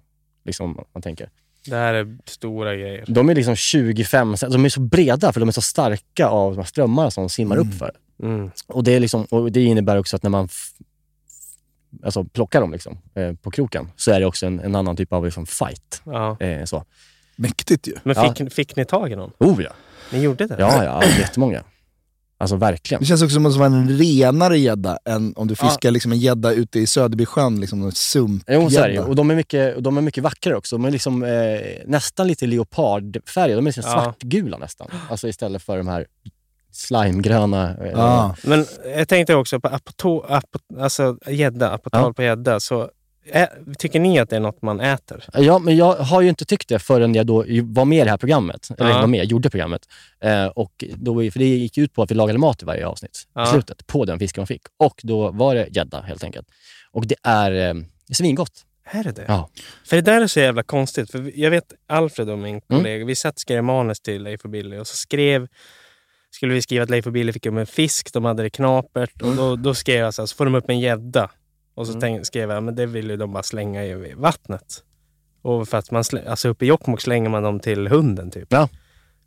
Liksom, om man tänker. det här är stora grejer. De är liksom 25, cent- de är så breda för de är så starka av de här strömmarna som de simmar upp för. Mm. Och det, är liksom, och det innebär också att när man f- alltså plockar dem liksom, eh, på kroken så är det också en, en annan typ av liksom fight. Ja. Eh, så. Mäktigt ju. Men Ja. fick, fick ni tag i någon? Oh ja. Ni gjorde det? Ja, ja. Jättemånga. Alltså verkligen. Det känns också som att det var en renare gädda än om du fiskar liksom en gädda ute i Söderbysjön, liksom en Jo, så är det ju. sumpgädda. Och de är, mycket, och de är mycket vackrare också. De är liksom, eh, nästan lite leopardfärgade. De är liksom Ja. svartgula nästan. Alltså istället för de här slimegröna. Eh, Ja. Men jag tänkte också på apotå, apo, alltså gädda, apotal Ja. på gädda. Så ä, tycker ni att det är något man äter? Ja, men jag har ju inte tyckt det förrän jag då ju- var med i det här programmet. Eller Ja. var med, gjorde programmet. Eh, och då, för det gick ut på att vi lagade mat i varje avsnitt. Ja. I slutet, på den fisken man fick. Och då var det gädda helt enkelt. Och det är eh, svingott. Är det det? Ja. För det där är så jävla konstigt. För vi- jag vet Alfred och Mm. min kollega, vi satt och skrev manus till Leif och Billy och så skrev skulle vi skriva att Leif och Billy fick upp en fisk, de hade det knapert. Mm. Och då, då skrev jag så här, så får de upp en gädda. Och så tänk, skrev jag, men det vill ju de bara slänga i vattnet. Och för att man slä, alltså uppe i Jokkmokk slänger man dem till hunden typ. Ja.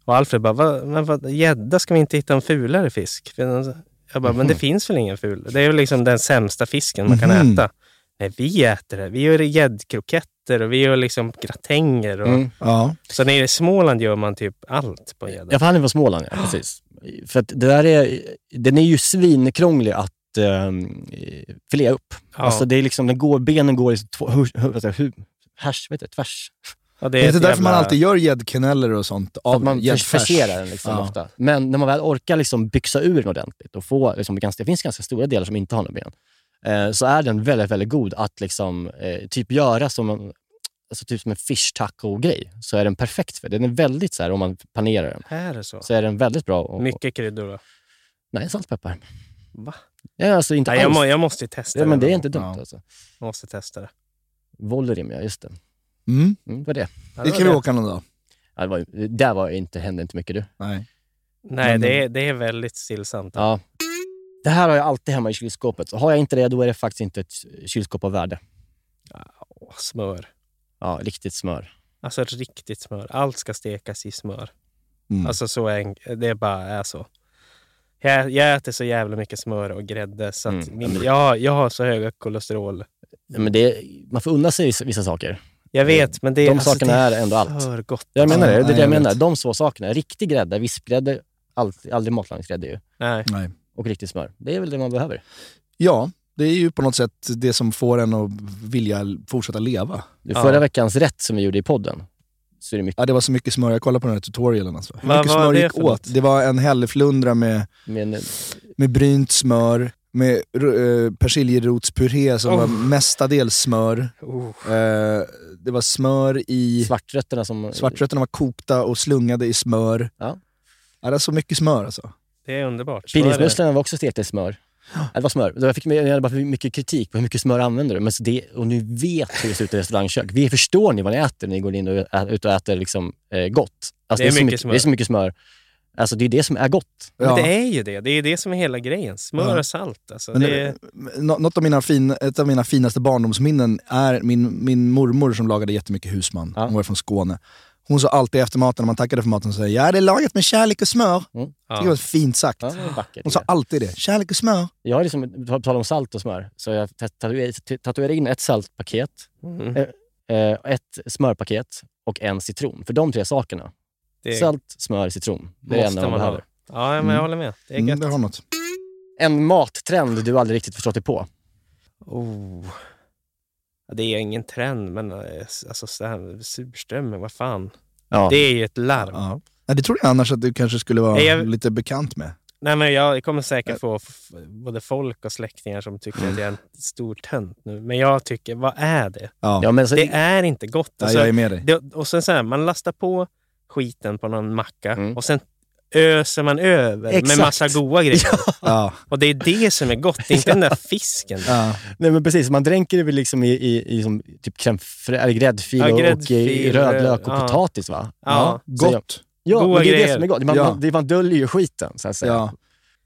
Och Alfred bara, "Va- men vad, gädda ska vi inte hitta en fulare fisk? För den- Jag bara, Mm. men det finns väl ingen ful? Det är väl liksom den sämsta fisken man kan Mhm. äta. Nej, vi äter det. Vi gör gäddkroketter och vi gör liksom gratänger. Och, Mm. Ja. Så nere i Småland gör man typ allt på gädda. Ja, för han är från Småland, ja. Precis. För att det där är, den är ju svinkrånglig att eh, filea upp. Ja. Alltså det är liksom, den går, benen går i två, hur, hur, alltså, hur, härs, vet du, tvärs. Och Det är ett inte därför man jävla- alltid gör gäddkaneller och sånt För av att man gäddfärs. förserar den liksom Ja. ofta. Men när man väl orkar liksom byxa ur den ordentligt och få, liksom, ganska, det finns ganska stora delar som inte har några ben, eh, så är den väldigt, väldigt god att liksom, eh, typ göra som en, alltså typ som en fish taco-grej. Så är den perfekt för det. Den är väldigt, så här, om man panerar den, Här är så. så är den väldigt bra. Och, Mycket kryddor då. Nej, saltpeppar. Va? Ja, alltså inte Nej, jag, alls. må, jag måste ju testa ja, det. men det är någon inte dumt Ja. alltså. gång. Jag måste testa det. Vollerim, ja. Just det. Mm. Mm, vad är det? Ja, Det var kan vi åka någon dag. Ja, det var, där var inte, hände inte mycket du. Nej. Nej, det är, det är väldigt stillsamt. Ja. Det här har jag alltid hemma i kylskåpet. Så har jag inte det, då är det faktiskt inte ett kylskåp av värde. Åh, smör. Ja, riktigt smör. Alltså ett riktigt smör. Allt ska stekas i smör. Mm. Alltså så enkelt. Det bara är så. Jag, jag äter så jävla mycket smör och grädde så att Mm. min, jag, jag har så höga kolesterol. Nej, Men det, man får unna sig vissa- vissa saker. Jag vet, men det, De alltså, sakerna det är ändå allt. för gott. Jag menar det. Det är nej, det jag jag vet. menar. De två sakerna. Riktig grädde, vispgrädde, allt- aldrig matlagningsgrädde ju. Nej. Nej. Och riktigt smör. Det är väl det man behöver. Ja, det är ju på något sätt det som får en att vilja fortsätta leva. Du, Ja. Förra veckans rätt som vi gjorde i podden, så är det mycket Ja, det var så mycket smör. Jag kollade på den här tutorialen. Alltså. Hur Vad mycket var smör det gick för något? åt? Det var en hälleflundra med, men, eh, med brynt smör, med eh, persiljerotspuré som Oh. var mestadels smör. Oh. Eh, det var smör i... svartrötterna som... Svartrötterna var kokta och slungade i smör. Ja. Ja, det är så mycket smör alltså. Det är underbart. Så är det. Pilgrimsmusslorna var också stekta i smör. Ja. Det var smör. Jag fick jag hade bara för mycket kritik på hur mycket smör använder du. Men så det, och nu vet hur det ser ut i restaurangkök. Vi förstår ni vad ni äter när ni går in och ä, ut och äter liksom, eh, gott. Alltså, Det är så mycket mycket, smör. Det är så mycket smör. Alltså, det är det som är gott. Men Ja. det är ju det. Det är det som är hela grejen. Smör Ja. och salt. Alltså, Men det, det, nå- något av mina, fin, ett av mina finaste barndomsminnen är min, min mormor som lagade jättemycket husman. Ja. Hon var från Skåne. Hon sa alltid efter maten, när man tackade för maten, så sa jag, ja det är lagat med kärlek och smör. ja. Det var fint sagt. Ja, det är vackert. Hon sa alltid det. Kärlek och smör. Jag har liksom, på tal om salt och smör, så jag tat- tatuer- tatuerade in ett saltpaket, Mm. eh, ett smörpaket och en citron. För de tre sakerna Det Salt, smör, citron. Det är det måste enda man man ha. behöver. Ja, men Mm. jag håller med. Det är Mm, gött. det har något. En mattrend du aldrig riktigt förstått dig på. Oh. Ja, Det är ingen trend, men eh, alltså, så här, surströmming, vad fan. Ja. Det är ju ett larm. Ja. Ja, det trodde jag annars att du kanske skulle vara Nej, jag- lite bekant med. Nej, men jag kommer säkert få f- både folk och släktingar som tycker att jag är en stor tönt nu. Men jag tycker, vad är det? Ja, Ja, men så, Det är inte gott. ja Alltså, jag är med dig. det, och sen så här, man lastar på skiten på någon macka Mm. och sen öser man över Exakt. med massa goda grejer. Ja, Och det är det som är gott, det är inte den där fisken. <laughs> ja. nej, men precis. Man dränker det väl liksom i, i, i som, typ crème fra- eller gräddfil, Ja, och- och i gräddfil, rödlök och ja. potatis, va? Ja. Så jag- Gott. Ja, Goda men det är det grejer. som är gott. Man, Ja. man, det, man döljer ju sketchen, så att säga. Ja.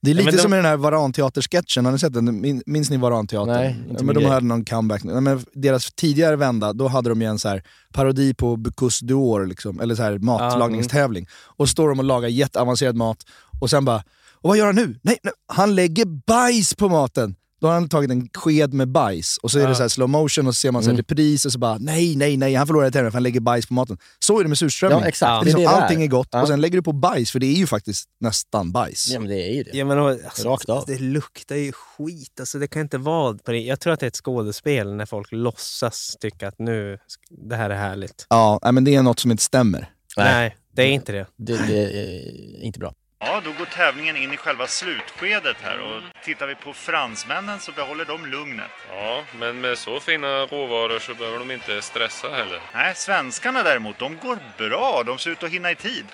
Det är Ja, men lite de- som i den här Varanteater-sketchen, har ni sett den? Min- Minns ni Varanteatern? Nej, inte ja, min men De grej. hade någon comeback. Nej, men deras tidigare vända, då hade de ju en så här parodi på Bucus Duor, liksom, eller så här matlagningstävling. Och står de och lagar jätteavancerad mat och sen bara, och vad gör han nu? Nej, nej, han lägger bajs på maten! Då har han tagit en sked med bajs och så är det så här slow motion och så ser man Mm. så här repris och så bara nej, nej, nej, han förlorar tävlingen för han lägger bajs på maten. Så är det med surströmming. Ja, exakt. Det är Det är liksom, det det är. allting är gott Ja. och sen lägger du på bajs för det är ju faktiskt nästan bajs. Ja, men det är ju det. Ja, men, och- alltså, Rakt av. Det luktar ju skit. Alltså, det kan inte vara på det. Jag tror att det är ett skådespel när folk låtsas tycka att nu, det här är härligt. Ja, nej, men det är något som inte stämmer. Nej. Nej, det är inte det. Det, det är inte bra. Ja, då går tävlingen in i själva slutskedet här och tittar vi på fransmännen så behåller de lugnet. Ja, men med så fina råvaror så behöver de inte stressa heller. Nej, svenskarna däremot, de går bra. De ser ut att hinna i tid.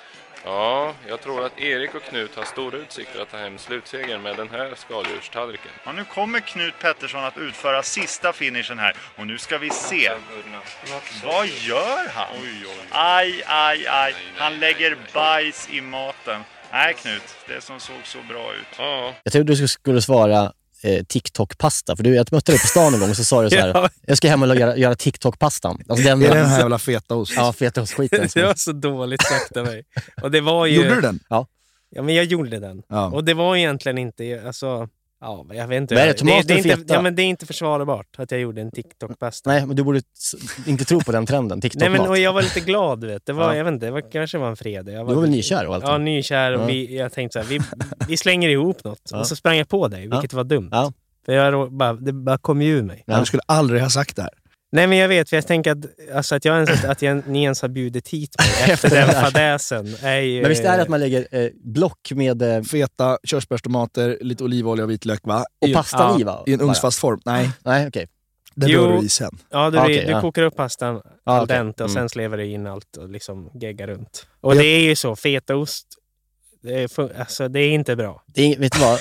Ja, jag tror att Erik och Knut har stora utsikter att ta hem slutsegern med den här skaldjurstallriken. Ja, nu kommer Knut Pettersson att utföra sista finishen här och nu ska vi se. Vad gör han? Aj, aj, aj. Han lägger bajs i maten. Nej, Knut, det som såg så bra ut. Ja, Jag trodde du skulle svara eh, TikTok-pasta, för du, jag mötte dig på stan en gång och så sa du så här, <laughs> Ja. jag ska hem och göra, göra TikTok-pastan. Alltså den, Är det den här jävla fetaost? ja, fetaostskiten. som- Det var så dåligt sagt av mig. Och <laughs> det var ju, Gjorde du den? Ja, men jag gjorde den. Ja. Och det var egentligen inte... Alltså, ja, jag vet inte. Vad är det, det, tomater det, är och inte feta? ja, men det är inte försvarbart att jag gjorde en TikTok-pasta. Nej, men du borde s- inte tro på den trenden. Nej, men, och TikTok-mat. jag var lite glad. Du vet. Det var, Ja. jag vet inte, det var, kanske var en fredag. Jag Du var väl nykär och allt? Ja, nykär. Ja. Och vi, jag tänkte så här, vi, vi slänger ihop något. Ja. Och så sprang jag på dig, vilket var dumt. Ja. För jag rå- bara, det bara kom ju ur mig. Ja. Du skulle aldrig ha sagt det här. Nej, men jag vet. För jag tänker att, alltså, att, jag ens, att jag, ni ens har bjudit hit <laughs> mig efter den där. fadäsen. Är ju, Men visst är det att man lägger eh, block med eh, Feta, körsbärstomater, lite olivolja och vitlök va? och I, pastan ja, Ah. i va? I en Bara. ugnsfast form. Nej, Nej, okej. den Jo. rör du i sen. Ja, du, Ah, okej, du ja. kokar upp pastan Ah, al okej. dente och Mm. sen slevar du in allt och liksom geggar runt. Och Jag- det är ju så, fetaost, det är, fun- alltså, det är inte bra. Det är- Vet du <laughs> vad?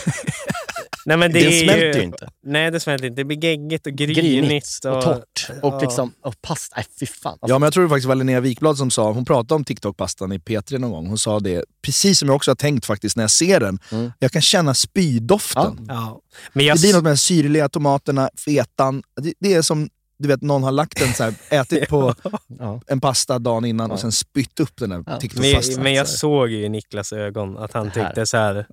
Nej, men det, Det, är smälter ju inte. Nej, det smälter inte. Det blir geggigt och grynigt. Grynigt och, torrt. Och ja. liksom, och pasta. Nej, fy fan. Alltså, Ja, men jag tror det faktiskt var Linnea Wikblad som sa, hon pratade om TikTok-pastan i P3 någon gång. Hon sa det, precis som jag också har tänkt faktiskt när jag ser den. Mm. Jag kan känna spydoften. Ja. Men jag, Det blir något med den syrliga tomaterna, fetan. Det, det är som du vet, någon har lagt den så här, ätit på ja. en pasta dagen innan Ja. och sen spytt upp den där Ja. TikTok-pastan. men, men jag alltså. såg ju i Niklas ögon att han Det här. tyckte <laughs> så här...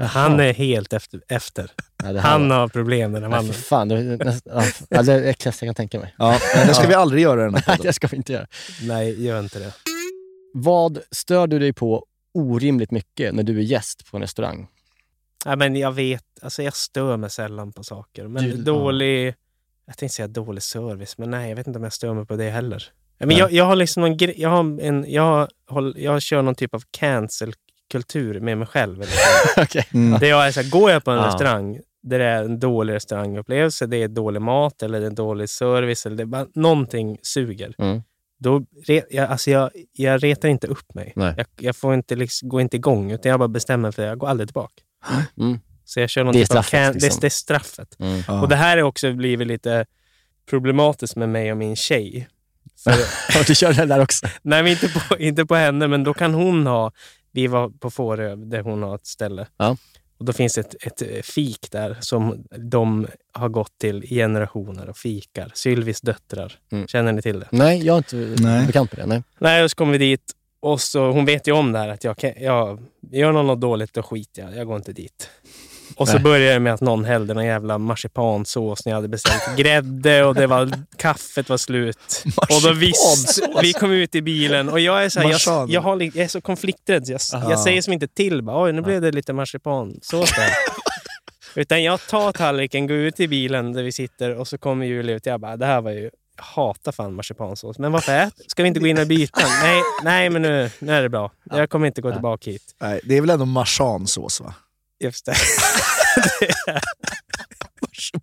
Han är helt efter. efter. Nej, det här Han var- har problem den här Nej, mannen. fy fan. Det är nästan- ja, det är det äckligaste jag kan tänka mig. Ja, men det ska vi aldrig göra <laughs> i den här Nej, podden. det ska vi inte göra. Nej, gör inte det. Vad stör du dig på orimligt mycket när du är gäst på en restaurang? Nej, men jag vet, alltså jag stör mig sällan på saker. Men Du- dålig, jag tänkte säga dålig service, men nej, jag vet inte om jag stör mig på det heller. Men jag, jag har liksom någon gre- jag har en, jag, har, håll- jag kör någon typ av cancel-kultur med mig <laughs> själv. <laughs> Okej. Mm. det jag är så här, går jag på en Ja. restaurang där det är en dålig restaurangupplevelse, det är dålig mat eller det är dålig service eller det är bara, någonting suger. Mm. Då, re- jag, alltså jag, jag retar inte upp mig. Nej. Jag, jag får inte liksom, gå inte igång, utan jag bara bestämmer för att jag går aldrig tillbaka. Mm. Så jag kör någon Det är typ av straffet, can- liksom. det, det är straffet. Mm. Ja. Och det här är också blivit lite problematiskt med mig och min tjej. <laughs> För, Ja, Du kör den där också. nej, men inte på, inte på henne, men då kan hon ha... Vi var på Fårö, där hon har ett ställe. Ja. Och Då finns ett, ett eh, fik där som de har gått till i generationer och fikar. Sylvis döttrar. Mm. Känner ni till det? Nej, jag är inte Nej. bekant med det. Nej. Nej, och så kommer vi dit och så, hon vet ju om det här att jag, kan, jag gör någon något dåligt, då skiter jag. Jag går inte dit. Och så började det med att någon hällde någon jävla marsipansås när jag hade beställt grädde och det var, kaffet var slut. Och då visst, Marsipansås. vi kom ut i bilen och jag är så, här, Marsan. jag, jag, har, li- jag är så konflikträdd. så Jag, jag säger som inte till, bara, oj nu blev det lite marsipansås där. Utan jag tar tallriken, går ut i bilen där vi sitter och så kommer Julia ut och jag bara, det här var ju jag hatar fan marsipansås. Men varför äter? Ska vi inte gå in och byta? Nej, nej men nu, nu är det bra. Jag kommer inte gå tillbaka hit. Nej, det är väl ändå marsansås va? <laughs> Just det.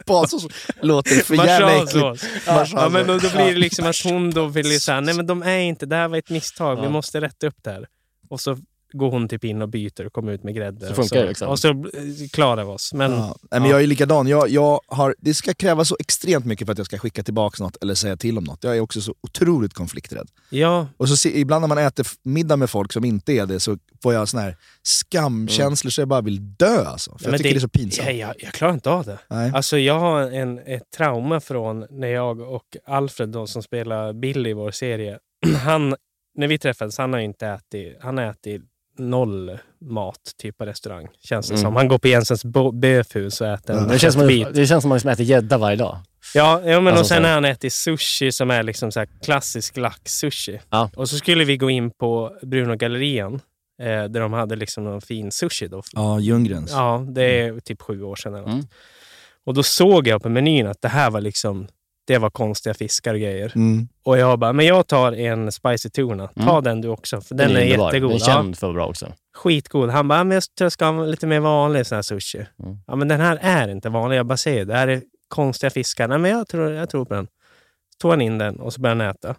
Marsansås låter för jävla äckligt. Marsansås. Ja, ja, Marsansås. men då, då blir det liksom att Ja. hon då vill ju säga, nej men de är inte, det här var ett misstag, vi måste rätta upp det här. Och så går hon typ in och byter och kommer ut med grädde. Så och funkar det så, liksom. Och så eh, klarar vi oss. Men Ja. Nej, men jag är likadan. Jag, jag har, det ska krävas så extremt mycket för att jag ska skicka tillbaka något eller säga till om något. Jag är också så otroligt konflikträdd. ja, Och så se, ibland när man äter f- middag med folk som inte är det så får jag såna här skamkänslor så jag bara vill dö alltså. För men jag tycker det, är så pinsamt. Jag, jag, jag klarar inte av det. Nej. Alltså jag har en, ett trauma från när jag och Alfred, då, som spelar Billy i vår serie, <clears throat> han, när vi träffades, han har ju inte ätit, han har ätit noll mat typ på restaurang, känns det Mm. som. Han går på Jensens bo- böfhus och äter en Det känns, som man, köttbit. det känns som man liksom äter gädda varje dag. Ja, ja men Alltså, och så sen här. har han ätit sushi som är liksom så här klassisk lax-sushi. Ja. Och så skulle vi gå in på Bruno Gallerian, eh, där de hade liksom någon fin sushi då, Ja, Ljunggrens. Ja, det är typ sju år sedan. Eller något. Mm. Och då såg jag på menyn att det här var liksom det var konstiga fiskar och grejer. Mm. Och jag bara, men jag tar en spicy tuna. Ta Mm. den du också, för den, är, underbar. jättegod. Den är ja, känd för att vara bra också. skitgod. Han bara, men jag tror jag ska ha lite mer vanlig sån här sushi. Mm. Ja, men den här är inte vanlig. Jag bara säger, det här är konstiga fiskar. Nej, men jag tror, jag tror på den. Så tog han in den och så började han äta.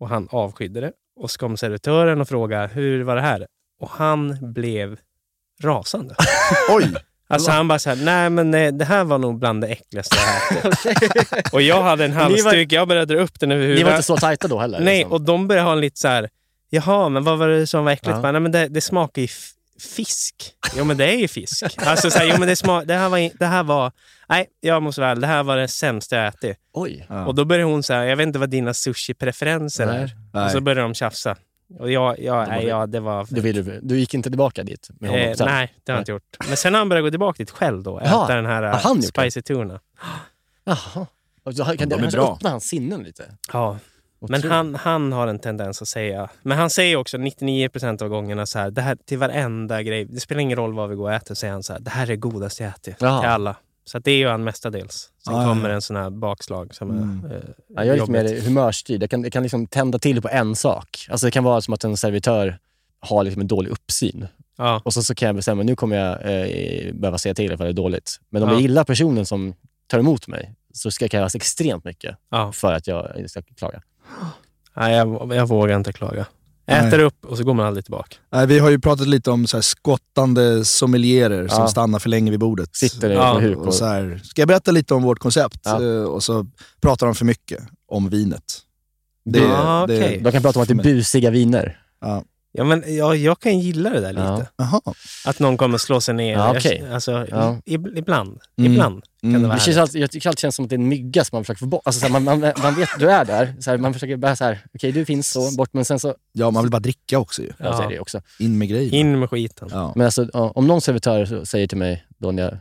Och han avskydde det. Och så kom servitören och frågade, hur var det här? Och han blev <laughs> rasande. Oj! Alltså han bara så här, nej men eh, det här var nog bland det äckligaste jag <laughs> ätit. och jag hade en var- halsduk, jag började dra upp den över Ni huvudet. var inte så tajta då heller? nej, liksom. och de började ha en lite så här, jaha men vad var det som var äckligt? Ja. Bara, nej men det, det smakar ju f- fisk. Jo men det är ju fisk. alltså så här, jo men det, smak, det, här var, in- det här var, nej jag måste vara ärlig, det här var det sämsta jag ätit. Oj. Ja. Och då började hon så här, jag vet inte vad dina sushi-preferenser Nej. är. Och Nej. så började de tjafsa. Och jag, jag, var nej, det- ja det var... Du, vill, du gick inte tillbaka dit med honom Eh, sen? nej, det har jag inte gjort. Men sen har han börjat gå tillbaka dit själv då. Äta Jaha. den här Har han eh, gjort det? spicy tuna. Jaha. Och så Kan De det är kanske bra. öppna hans sinnen lite? Ja. Och Men tro- han, han har en tendens att säga... Men han säger också 99 procent av gångerna så här, det här till varenda grej. Det spelar ingen roll vad vi går och äter, säger han så här, det här är det godaste jag ätit Jaha. till alla. Så att det är ju han mestadels. Sen Ah, ja, kommer ja. en sån här bakslag som Mm. är... Eh, Ja, jag är lite jobbigt. mer humörstyrd. Jag kan, jag kan liksom tända till på en sak. Alltså det kan vara som att en servitör har liksom en dålig uppsyn. ja. Och så, så kan jag bestämma, nu kommer jag eh, behöva säga till ifall det är dåligt. Men om Ja. jag gillar personen som tar emot mig så ska det krävas extremt mycket Ja. för att jag ska klaga. Nej, jag, jag vågar inte klaga. Nej. Äter upp och så går man aldrig tillbaka. Nej, vi har ju pratat lite om så här skottande sommelierer som Ja. stannar för länge vid bordet. Sitter Ja, ja, på huk och, och så här, ska jag berätta lite om vårt koncept? Ja. Eh, Och så pratar de för mycket om vinet. Det, Ja, okej. De kan prata om att det är busiga viner. Ja, men jag, jag kan gilla det där lite. Ja. Jaha. Att någon kommer slå sig ner. Ja, Jag- okej. alltså, Ja. i- Ibland. Mm. Ibland kan Mm. det Det vara känns härligt. alltid, jag tycker alltid känns som att det är en mygga som man försöker få bort. Alltså, så här, man, man, man vet att du är där. Så här, man försöker bara så här, okej du finns så, bort. Men sen så, Ja, man vill bara dricka också ju. ja. så är det Ja. ju också. In med grejer. In med skiten. Ja. Men alltså, ja, om någon servitör så- säger till mig, då när jag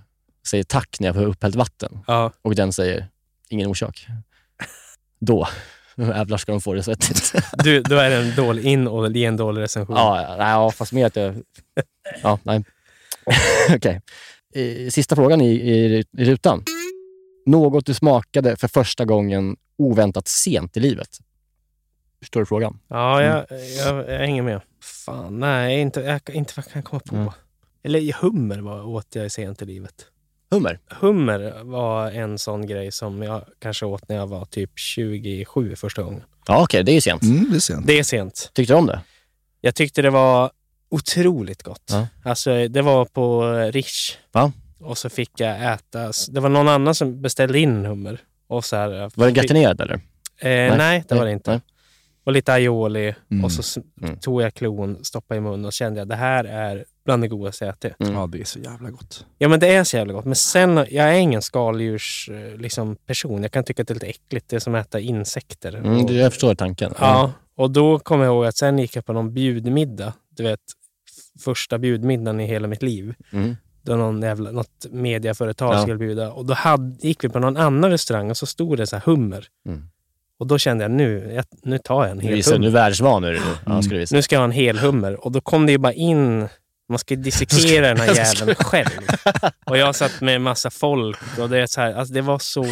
säger tack när jag får upphällt vatten Ja. och den säger ingen orsak, då <laughs> jävlar ska de få det <laughs> svettigt. Du, då är det en dålig in och ge en dålig recension. ja, ja, nej, ja, fast mer att jag... Ja, nej. <laughs> Okej. Eh, Sista frågan i, i, i rutan. Något du smakade för första gången oväntat sent i livet. Förstår du frågan? Ja, Mm. jag, jag, jag hänger med. Fan, nej, inte, jag, inte vad jag kan komma på. Mm. Eller hummer var, åt jag sent i livet. Hummer? Hummer var en sån grej som jag kanske åt när jag var typ 27 första gången. Ja, okej. det är ju sent. Mm, det är sent. Det är sent. Tyckte du om det? Jag tyckte det var otroligt gott. Ja. Alltså, det var på Rish. Va? Och så fick jag äta. Det var någon annan som beställde in hummer. Och så här, Var det gratinerat eller? Eh, nej, det var det inte. Nej. Och lite aioli. Mm. Och så s- Mm. tog jag klon, stoppade i munnen och kände att det här är bland det godaste jag ätit. Mm. Ja, det är så jävla gott. Ja, men det är så jävla gott. Men sen, jag är ingen skaldjurs, eh, liksom, person. Jag kan tycka att det är lite äckligt. Det är som att äta insekter. Mm, och, du- jag förstår tanken. Ja, och då kommer jag ihåg att sen gick jag på någon bjudmiddag. Du vet, f- första bjudmiddagen i hela mitt liv. Mm. då någon jävla, något mediaföretag Ja. skulle bjuda. Och då hade, gick vi på någon annan restaurang och så stod det så här hummer. Mm. Och då kände jag nu, jag, nu tar jag en Nu hel visar du, nu hummer. är världsvan är du nu. Ja, ska du visa. Nu ska jag ha en hel hummer. Och då kom det ju bara in, man ska ju dissekera <laughs> den här jäveln själv. Och jag satt med en massa folk och det, är så här, alltså det var så...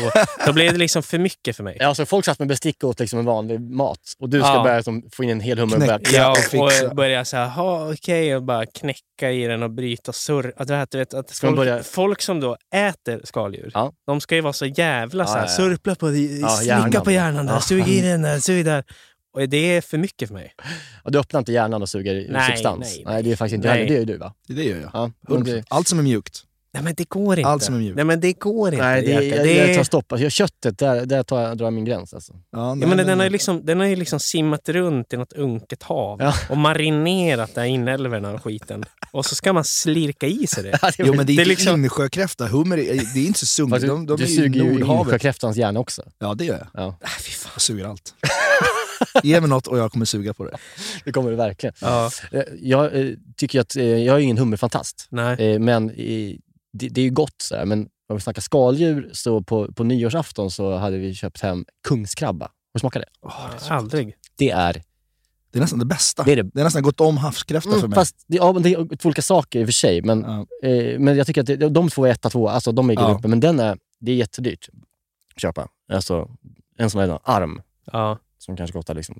Då blev det liksom för mycket för mig. Ja, Alltså, folk satt med bestick och åt liksom en vanlig mat och du ska Ja. börja liksom, få in en hel hummer och börja... Knäck. Ja, och fixa. och börja så här, "Ha, okej, och bara knäcka i den och bryta surr. Att, det här, du vet, att Ska man folk, börja- folk som då äter skaldjur, Ja. de ska ju vara så jävla så Ja, här, ja, ja. surpla på det, Ja, slicka hjärnan. på hjärnan där, Ja. sug i den där, sug där. Och det är för mycket för mig. Och du öppnar inte hjärnan och suger ur Nej, substans. nej, Nej, nej. det är faktiskt inte Nej. heller. Det gör du va? Det gör jag. Ja. men 100%. det- Allt som är mjukt. Nej men det går inte. Allt som är mjukt. Nej men det går inte. Nej, det, Jerka. jag, Det jag är- tar stopp. Alltså, jag, köttet, där, där tar jag, drar jag min gräns. Alltså. Ja, Ja, nej, men nej, den, har nej. ju liksom, den har ju liksom simmat runt i något unket hav Ja. och marinerat där inälvorna och skiten. Och så ska man slirka <laughs> i sig det. Jo men det är, det är inte liksom- insjökräfta, hummer är, det är inte så sunkigt. Fast De, du du de är ju suger ju Nordhavet. insjökräftans hjärna också. Ja det gör jag. Ja. Ah, fy fan. Jag suger <laughs> allt. Ge mig något och jag kommer suga på det. Det kommer det verkligen. Ja. Eh, Jag eh, tycker ju att, eh, jag är ingen hummerfantast, Nej. eh, men eh, det, det är ju gott. Så här. Men om vi snackar skaldjur, så på, på nyårsafton så hade vi köpt hem kungskrabba. Har du smakat det? Aldrig. Det är... Det är nästan det bästa. Det är det- det har nästan gått om havskräfta för Mm, mig. fast det, ja, men det är två olika saker i och för sig, men, Ja. eh, men jag tycker att det, de två är etta, två. Alltså de är Ja. gruppen, men den är, det är jättedyrt att köpa. Alltså, en sån här arm Ja. som kanske kostar liksom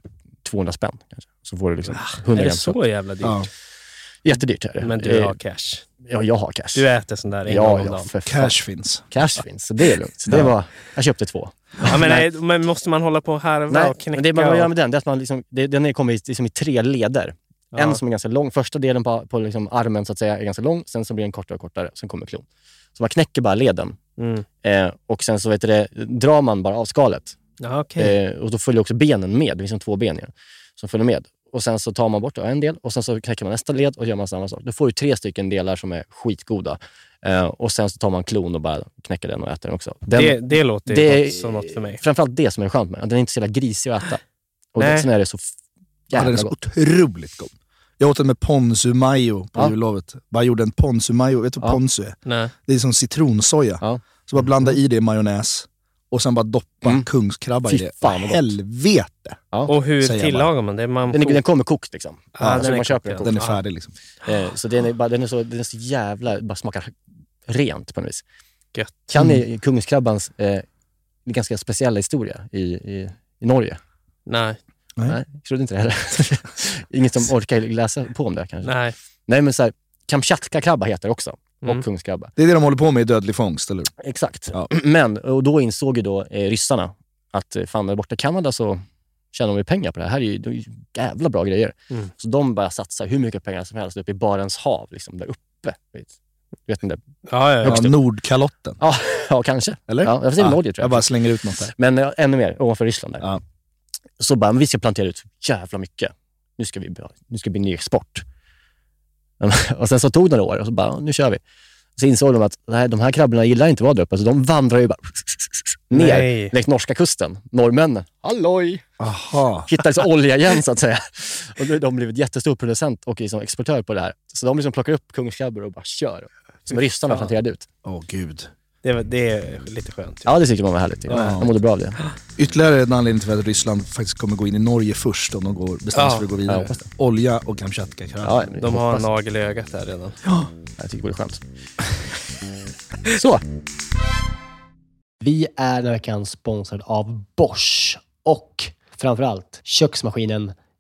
200 spänn. Kanske. Så får du liksom 100 Ah, Är det gram kött. så jävla dyrt? Ja. Jättedyrt är det. Men du Eh, har cash. Ja, jag har cash. Du äter sån där en gång ja, om ja, dagen. för fan. Cash finns. Cash finns, så det är lugnt. Så det var, jag köpte två. Ja, men, nej, men måste man hålla på och harva Nej, och knäcka? men det man och- gör med den, det är att man liksom, det, den är- kommer i- liksom i tre leder. Ja. En som är ganska lång, första delen på, på liksom armen så att säga är ganska lång, sen så blir den kortare och kortare, sen kommer klon. Så man knäcker bara leden Mm. eh, och sen så vet du det, drar man bara av skalet. Ja, okej. Eh, och då följer också benen med, det finns som två ben i den som följer med. Och sen så tar man bort en del och sen så knäcker man nästa led och gör man samma sak. Då får du tre stycken delar som är skitgoda. Eh, och sen så tar man klon och bara knäcker den och äter den också. Den, det, det låter ju det något, som något för mig. Framförallt det som är skönt med den. Den är inte så jävla grisig att äta. Och Nej. det, sen är det så f- Ja, den jävla är så gott. otroligt god. Jag åt den med ponzu mayo på Ja. jullovet. Bara gjorde en ponzu mayo. Vet du vad Ja. ponzu är? Nej. Det är som citronsoja. Ja. Så bara blanda i det i majonnäs och sen bara doppa Mm. kungskrabba i Fy det. fan vad gott. Helvete! Och hur Säger jag tillagar man det? Man Den, är- kokar- den kommer kokt liksom. Ja, alltså, den är man köper kokt, den ja. Den är Ja. färdig liksom. kokt. Eh, så den är, bara, den, är så, den är så jävla... bara smakar rent på något vis. Gött. Kan Mm. ni kungskrabbans eh, ganska speciella historia i, i, i Norge? Nej. Nej. Nej, jag trodde inte det heller. <laughs> Ingen som orkar läsa på om det kanske. Nej, Nej. men så här, Kamchatkakrabba heter det också. Mm. Och kungskrabba. Det är det de håller på med i dödlig fångst, eller hur? Exakt. Ja. <clears throat> Men och då insåg ju då eh, ryssarna att eh, fan, där borta i Kanada så tjänar de ju pengar på det här. här är ju, det är ju jävla bra grejer. Mm. Så de bara satsar hur mycket pengar som helst uppe i Barents hav, liksom, där uppe. Vet, vet ni det? Ja, ja, ja. Ja, Högst upp. Nordkalotten, Ja, <laughs> ja kanske. eller? Ah, Ja, jag får säga Norge, tror jag. bara slänger ut något där. Men eh, ännu mer, ovanför Ryssland. Där. Ja. Så bara, men vi ska plantera ut så jävla mycket. Nu ska vi, bra- nu ska det bli ny export. <laughs> Och sen så tog det några år och så bara, nu kör vi. Så insåg de att nej, de här krabborna gillar inte att vara där uppe, så de vandrar ju bara <laughs> ner Nej. längs norska kusten. Norrmännen, halloj! Aha. Hittar liksom olja igen så att säga. Och nu, de har blivit jättestor producent och liksom exportör på det här. Så de liksom plockar upp kungskrabbor och bara kör. Som ryssarna planterade ut. Åh gud. Det, var- det är lite skönt. Ja, det tyckte man var härligt. De mådde bra av det. Ytterligare en anledning till att Ryssland faktiskt kommer gå in i Norge först om de går, bestämmer sig Ja. för att gå Ja, jag vidare. hoppas Olja och kamchatka Ja, De har hoppas- en nagel i ögat där redan. Jag tycker det vore <laughs> skönt. Så. Vi är den här veckan sponsrade av Bosch och framförallt köksmaskinen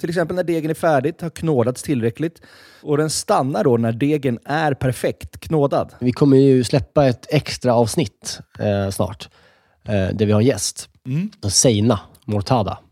till exempel när degen är färdigt, har knådats tillräckligt och den stannar då när degen är perfekt knådad. Vi kommer ju släppa ett extra avsnitt eh, snart eh, där vi har en gäst. Seina Mortada.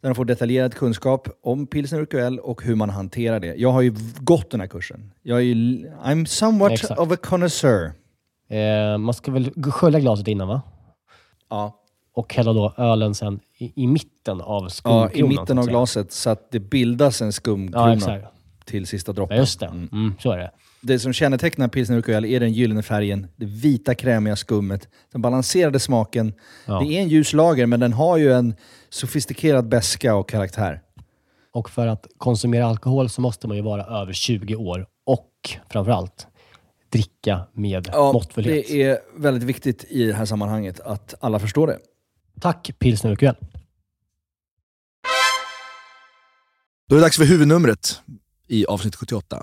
Där de får detaljerad kunskap om pilsner urquell och hur man hanterar det. Jag har ju gått den här kursen. Jag är ju, I'm somewhat Exakt. of a connoisseur. Eh, man ska väl g- skölja glaset innan va? Ja. Och hälla då ölen sen i, i mitten av Ja, skumkronan. I så mitten att av säga. glaset så att det bildas en skumkrona Ja, exakt. till sista Ja, droppen. just det. Mm, så är det. Det som kännetecknar pilsner urquell är den gyllene färgen, det vita krämiga skummet, den balanserade smaken. Ja. Det är en ljus lager, men den har ju en sofistikerad beska och karaktär. Och för att konsumera alkohol så måste man ju vara över 20 år och framförallt dricka med måttfullhet. det är väldigt viktigt i det här sammanhanget att alla förstår det. Tack Pilsner Urquell. Då är det dags för huvudnumret i avsnitt 78.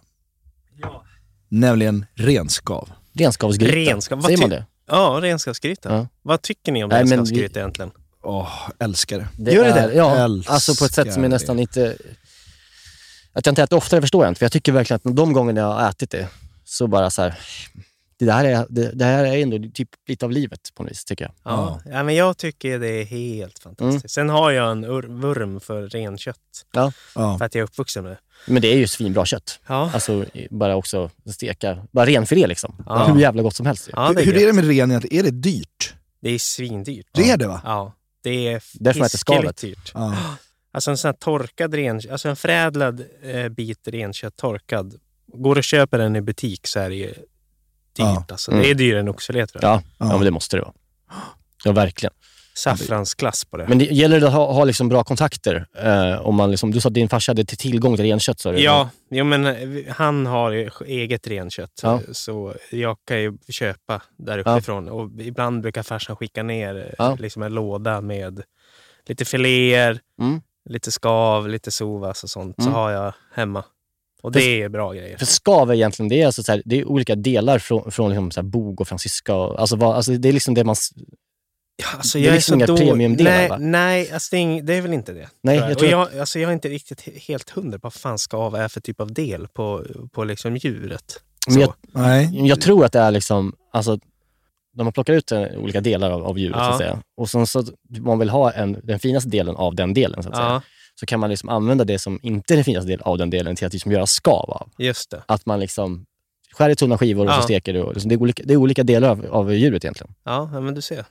Nämligen renskav. Renskavsgryta. Renskav- vad Säger ty- man det? Ja, renskapsgryta. Ja. Vad tycker ni om Nej, men renskapsgryta egentligen? Åh, älskar det. Det är- Ja, alltså på ett sätt som är Älskar nästan inte... Att jag inte äter oftare förstår jag inte, för jag tycker verkligen att de gångerna jag har ätit det, så bara så här... Det här är, det, det här är ändå typ lite av livet på något vis, tycker jag. Ja. Ja, men jag tycker det är helt fantastiskt. Mm. Sen har jag en ur- vurm för renkött. Ja. För att jag är uppvuxen med det. Men det är ju svinbra kött. Ja. Alltså bara också steka, bara renfilé liksom. Ja. Hur jävla gott som helst. Ja, hur, hur är det med ren egentligen? Är det dyrt? Det är svindyrt. Det är det va? Ja, det är Därför man äter skalet. hiskeligt dyrt. Ja. Alltså en sån här torkad ren, alltså en förädlad eh, bit renkött torkad. Går och köper den i butik så är det ju dyrt. Ja. Alltså. Mm. Det är dyrare än oxfilé tror jag. Ja, ja. men det måste det vara. Ja, verkligen. Saffransklass på det. Men det gäller det att ha, ha liksom bra kontakter. Eh, om man liksom, du sa att din farsa hade till- tillgång till renkött, sa du? Ja, jo, men eh, han har ju eget renkött Ja. så jag kan ju köpa där Ja. uppifrån. Och ibland brukar farsan skicka ner eh, Ja. liksom en låda med lite filéer, Mm. lite skav, lite sovas och sånt. Mm. Så har jag hemma. Och För- det är bra grejer. För skav är egentligen, det är, alltså så här, det är olika delar från, från liksom så här bog och fransyska. Och, alltså, vad, alltså det är liksom det man... s- Ja, alltså, Det är jag liksom så inga då- premiumdelar, Nej, va? nej alltså, det, är, ing- det är väl inte det. Nej, jag jag, tror och jag, alltså, jag är inte riktigt he- helt hundra på vad fan skav är för typ av del på, på liksom djuret. Men jag, Så. Nej. jag tror att det är liksom... Alltså, när man plockar ut eh, olika delar av, av djuret, Ja. så att säga. Och sen så, man vill ha en, den finaste delen av den delen, så att säga. Ja, Så kan man liksom använda det som inte är den finaste delen av den delen till att liksom göra skav av. just det. Att man liksom skär i tunna skivor och så Ja. steker det. Och liksom, det, är olika, det är olika delar av, av djuret egentligen, Ja, ja, men du ser.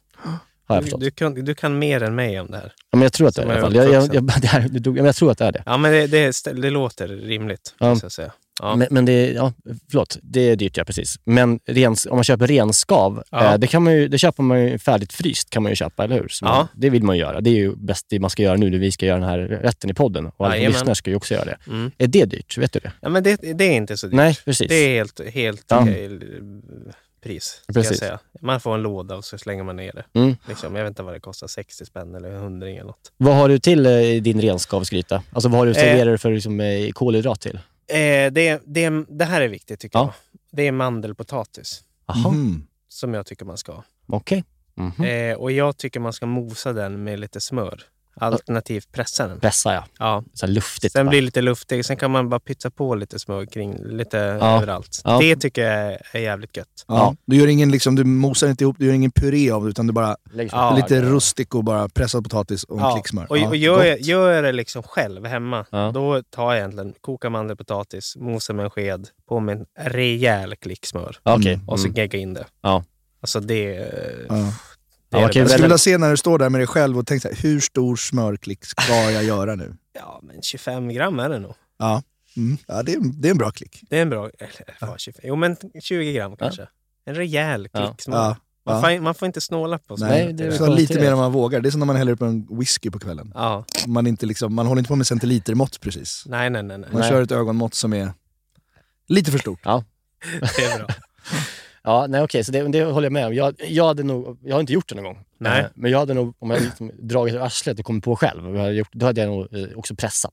har jag Du, förstått. du, kan, du kan mer än mig om det här. ja, men jag tror att det är som det i alla är fall. Jag, jag, uppvuxen. jag, <laughs> det här, det dog- ja, men jag tror att det är det. Ja, men det, det, stä- det låter rimligt. Ja. Så att säga. Ja. Men, men det, ja, förlåt, det är dyrt ja, precis. Men rens, om man köper renskav, Ja. eh, det, kan man ju, det köper man ju färdigt fryst, kan man ju köpa, eller hur? Så man, Ja. det vill man ju göra. Det är ju bäst det man ska göra nu när vi ska göra den här rätten i podden. Och alla Jajamän. lyssnare ska ju också göra det. Mm. Är det dyrt? Vet du det? ja, men det, det är inte så dyrt. Nej, precis. Det är helt, helt Ja. okej eh, pris, ska Precis. jag säga. Man får en låda och så slänger man ner det. Mm. Liksom, jag vet inte vad det kostar, 60 spänn eller 100 eller något. Vad har du till eh, i din renskavsgryta? Alltså vad har du serverar du för liksom, eh, kolhydrat till? Eh, det, det, det här är viktigt tycker Ja. jag. Det är mandelpotatis Jaha, Mm. som jag tycker man ska ha. okej. Mhm. Eh, och jag tycker man ska mosa den med lite smör. Alternativt pressa den. Pressa ja, Ja. så här luftigt. Sen bara. blir det lite luftig, sen kan man bara pytsa på lite smör kring lite överallt. Ja. Det tycker jag är- är jävligt gött. Ja. Ja. Du, gör ingen, liksom, du mosar inte ihop, du gör ingen puré av det, utan du bara Lägg- Ja. lite rustico, bara pressad potatis och en Ja, klick smör. Och, Ja, och gör, jag, gott. gör jag det liksom själv hemma, Ja. då tar jag egentligen, kokar mandelpotatis, mosar med en sked, på med en rejäl klick smör Ja, Okej. och så Mm. gegga in det. Ja. Alltså det... Ja. det Ja, är okej, det Jag bästa. skulle vilja se när du står där med dig själv och tänker så här, hur stor smörklick ska jag göra nu? ja, men 25 gram är det nog. Ja, mm. ja det, är, en- det är en bra klick. Det är en bra... Eller, vad, 25, jo, men 20 gram kanske. En rejäl Ja. klick smör. Ja. Man, får, man får inte snåla på smör. Nej, Nej, det är så lite konstaterat. mer än man vågar. Det är som när man häller upp en whisky på kvällen. Ja. Man, inte liksom, man håller inte på med centilitermått precis. Nej, nej, nej, nej. Man Nej. kör ett ögonmått som är lite för stort. Det är bra. Ja, nej okej, så det, det håller jag med om. Jag, jag, hade nog, jag har inte gjort det någon gång. Nej. Eh, Men jag hade nog, om jag liksom dragit ur arslet och kommit på själv, jag hade gjort, då hade jag nog eh, också pressat.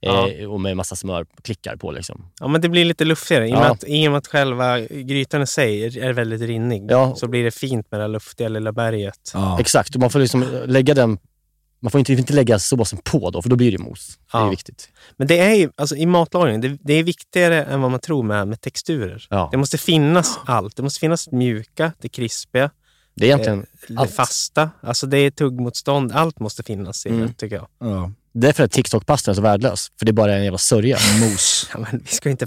Ja. Eh, och med massa smörklickar på liksom. Ja, men det blir lite luftigare. I, och med Ja. att, I och med att själva grytan i sig är- är väldigt rinnig Ja. så blir det fint med det här luftiga lilla berget. Ja. Exakt, och man får liksom lägga den, man får inte, inte lägga såsen på då, för då blir det mos. Det är Ja. viktigt. Men det är ju, alltså, i matlagning, det, det är viktigare än vad man tror med, med texturer. Ja. Det måste finnas allt. Det måste finnas mjuka, det krispiga, Det är egentligen det Allt. fasta. Alltså det är tuggmotstånd. Allt måste finnas i Mm. det, tycker jag. Ja. Därför är TikTok-pastan är så värdelös, för det är bara en jävla sörja. Mos. Ja, men vi ska inte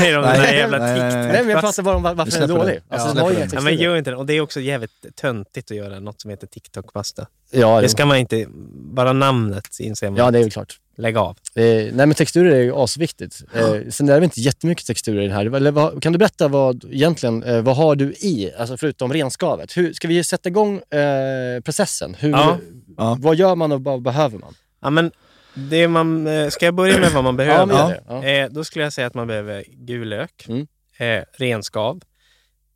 <laughs> mer om den här Nej, jävla nej, nej, nej. TikTok. Nej, men jag pratar bara om var- varför den är släpper dålig. den. Alltså, Ja, den har ju inga släpper Ja, texturer. men gör inte det. Och det är också jävligt töntigt att göra något som heter TikTok-pasta. ja, Det det, ska man inte... Bara namnet inser man. ja, det är ju klart. Lägg av. Eh, nej, men texturer är ju asviktigt. Eh, sen är det väl inte jättemycket texturer i det här. Eller, vad, kan du berätta vad, egentligen, eh, vad har du i, alltså förutom renskavet? Hur, ska vi sätta igång eh, processen? Hur, Ja. Ja. Vad gör man och vad behöver man? Ja, men det man, eh, ska jag börja med vad man Ja, behöver? men gör det. Ja. Eh, då skulle jag säga att man behöver gul lök, Mm. eh, renskav,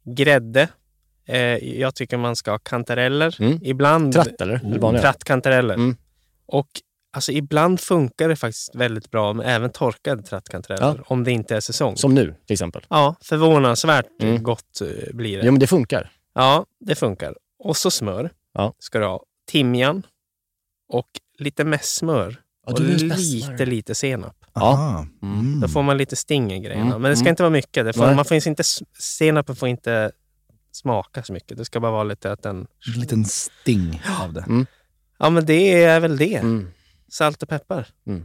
grädde. Eh, jag tycker man ska ha kantareller. Mm. Ibland Tratt eller? eller vanliga? trattkantareller. Mm. Och alltså, ibland funkar det faktiskt väldigt bra med även torkade trattkantareller, om det inte är säsong. Som nu, till exempel. Ja, förvånansvärt Mm. gott eh, blir det. Jo, men det funkar. Ja, det funkar. Och så smör Ja. ska du ha. Timjan, och lite mässmör. Ja, och du vill ha lite, mässmör. lite senap. Aha. Då får man lite sting i grejerna. Mm, Men det ska mm. inte vara mycket. Det får, Nej. man får inte, senapen får inte smaka så mycket. Det ska bara vara lite att den... En liten sting av det. Ja, men det är väl det. Mm. Salt och peppar. Mm.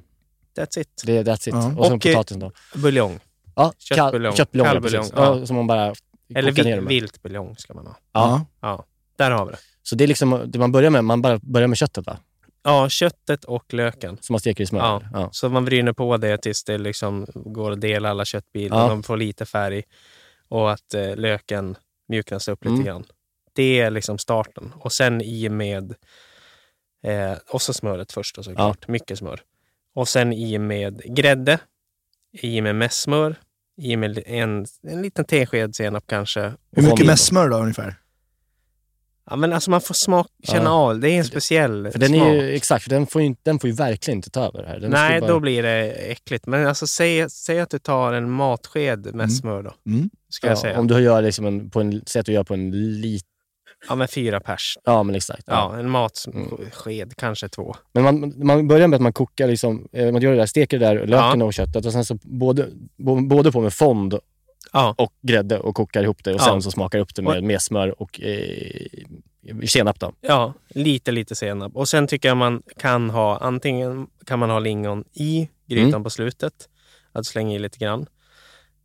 That's it. Det, that's it. Ja. Och sen Och, eh, potatisen då. Buljong. Ja, kall- köttbuljong. Köttbuljong, ja, Kallbuljong, precis. ja. Ja, som man bara Eller kokar ner vilt, med. vilt buljong ska man ha. Ja. Ja, där har vi det. Så det är liksom det man börjar med. Man bara börjar med köttet, va? Ja, köttet och löken. Som man steker i smör. Ja. Ja. Så man vryner på det tills det liksom går att dela alla köttbitar. Ja. De får lite färg och att eh, löken mjuknas upp lite Mm. grann. Det är liksom starten. Och sen i med... Eh, och så smöret först då såklart. Mycket smör. Och sen i med grädde. I med mest smör. I med li- en, en liten tesked senap kanske. Hur mycket Vanlig. mässmör då ungefär? Ja, men alltså man får smak, känna Ja. av. Det är en speciell För den smak. är ju, exakt, för den får ju, inte- den får ju verkligen inte ta över här. Den ska Nej, ju bara, då blir det äckligt. Men alltså, säg, säg att du tar en matsked med Mm. smör då. Mm. Ska jag säga. Om du gör liksom en, på en, säg att du gör på en liten, Ja, men fyra pers. ja Mm. men exakt. Ja, en matsked, kanske två. Men man, man börjar med att man kokar, liksom, eh, man gör det där, steker det där, löken och köttet och sen så både, bo- både på med fond Ja, och grädde och kokar ihop det och Ja. sen så smakar upp det Och- med, med smör och eh, senap då. ja lite, lite senap. Och sen tycker jag man kan ha, antingen kan man ha lingon i grytan Mm. på slutet. Att slänga i lite grann.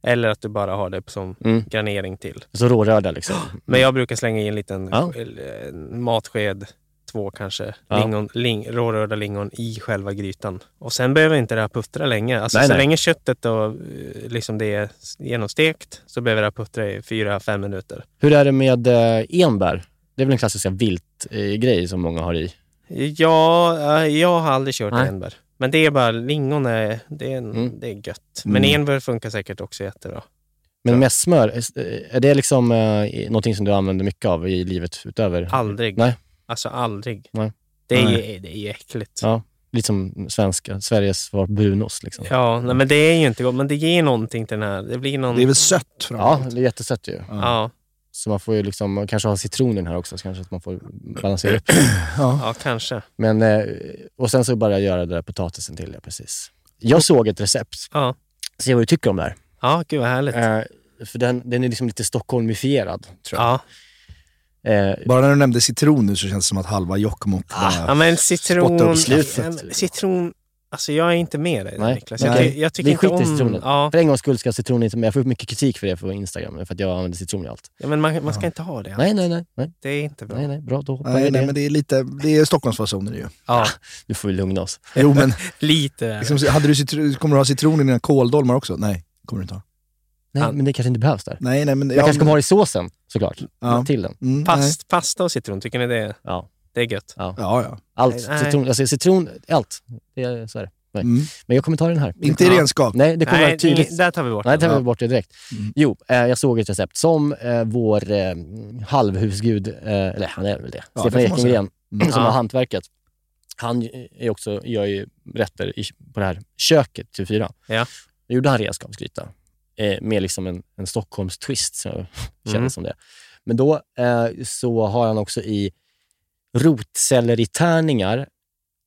Eller att du bara har det som Mm. garnering till. Så rårörda liksom. Men jag brukar slänga i en liten Ja. eh, matsked, två kanske, Ja. lingon, ling, rårörda lingon i själva grytan. Och sen behöver inte det här puttra länge. Alltså, Nej, så nej. länge köttet då, eh, liksom det är genomstekt så behöver det här puttra i fyra, fem minuter. Hur är det med eh, enbär? Det är väl en klassisk så här, vilt eh, grej som många har i. Ja, eh, jag har aldrig kört Nej. enbär. Men det är bara, lingon är, det är, en, Mm. det är gött. Men Mm. enbär funkar säkert också jättebra. Men mässmör, eh, är det liksom eh, någonting som du använder mycket av i livet utöver? Aldrig. Nej. Alltså aldrig. Nej. Det, är, Nej. ju- det är ju äckligt. Ja. Lite som svenska, Sveriges svar på brunost. Liksom. Ja. Ja, nej, men det är ju inte gott. Men det ger någonting till den här. Det blir någon... Det är väl sött framförallt? det är jättesött ju. Ja, Så man får ju liksom, man kanske ha citronen här också, så kanske att man får balansera upp. ja kanske. Men, eh, och sen så bara göra det där potatisen till, ja precis. Jag såg ett recept, Ja, se vad du tycker om det här. ja gud vad härligt. Eh, för den, den är liksom lite Stockholmifierad, tror jag. Ja. Eh, Bara när du nämnde citron nu så känns det som att halva Jokkmokk ja, bara... Ah, men citron... upp slutet. Ja, men Citron... Alltså jag är inte med dig Nej. Niklas. Jag, Nej. ty- jag tycker Vi inte skiter i om... citronen. Ja, för en gångs skull ska citronen inte med. Jag får mycket kritik för det på Instagram, för att jag använder citron i allt. ja, men man, man ska inte ha det. Nej, nej, nej. nej, Det är inte bra. nej, nej. Bra, då hoppar Nej, jag nej, det. men det är lite... Det är Stockholmsfasoner ju. Ja, Nu får vi lugna oss. Jo, men lite. är det. liksom, hade du citron, kommer du ha citron i dina kåldolmar också? Nej, kommer du inte ha. Nej, Ja. men det kanske inte behövs där. Nej, nej, men... Jag kanske kommer ha det i såsen, såklart. Ja. Till den. Mm, nej. Past, pasta och citron, tycker ni det, Ja. det är gött? Ja, ja. Allt. Nej. Citron, alltså, citron, allt. Det är, så är det. Nej. Mm. Men jag kommer ta den här. Inte i renskap. Nej, det kommer Nej, vara tydligt. ingen- där tar vi bort Nej, den. det tar vi bort det direkt. Mm. Jo, eh, jag såg ett recept som eh, vår eh, halvhusgud, eh, eller han är väl det, Ja, Stefan det får man säga. Ekengren, Mm. som Ja. har hantverket. Han är också, gör ju rätter i, på det här köket, till fyra. Ja. Då gjorde han redskapsgryta eh, med liksom en, en Stockholms-twist, som jag känner Mm. som det. Men då eh, så har han också i rotselleritärningar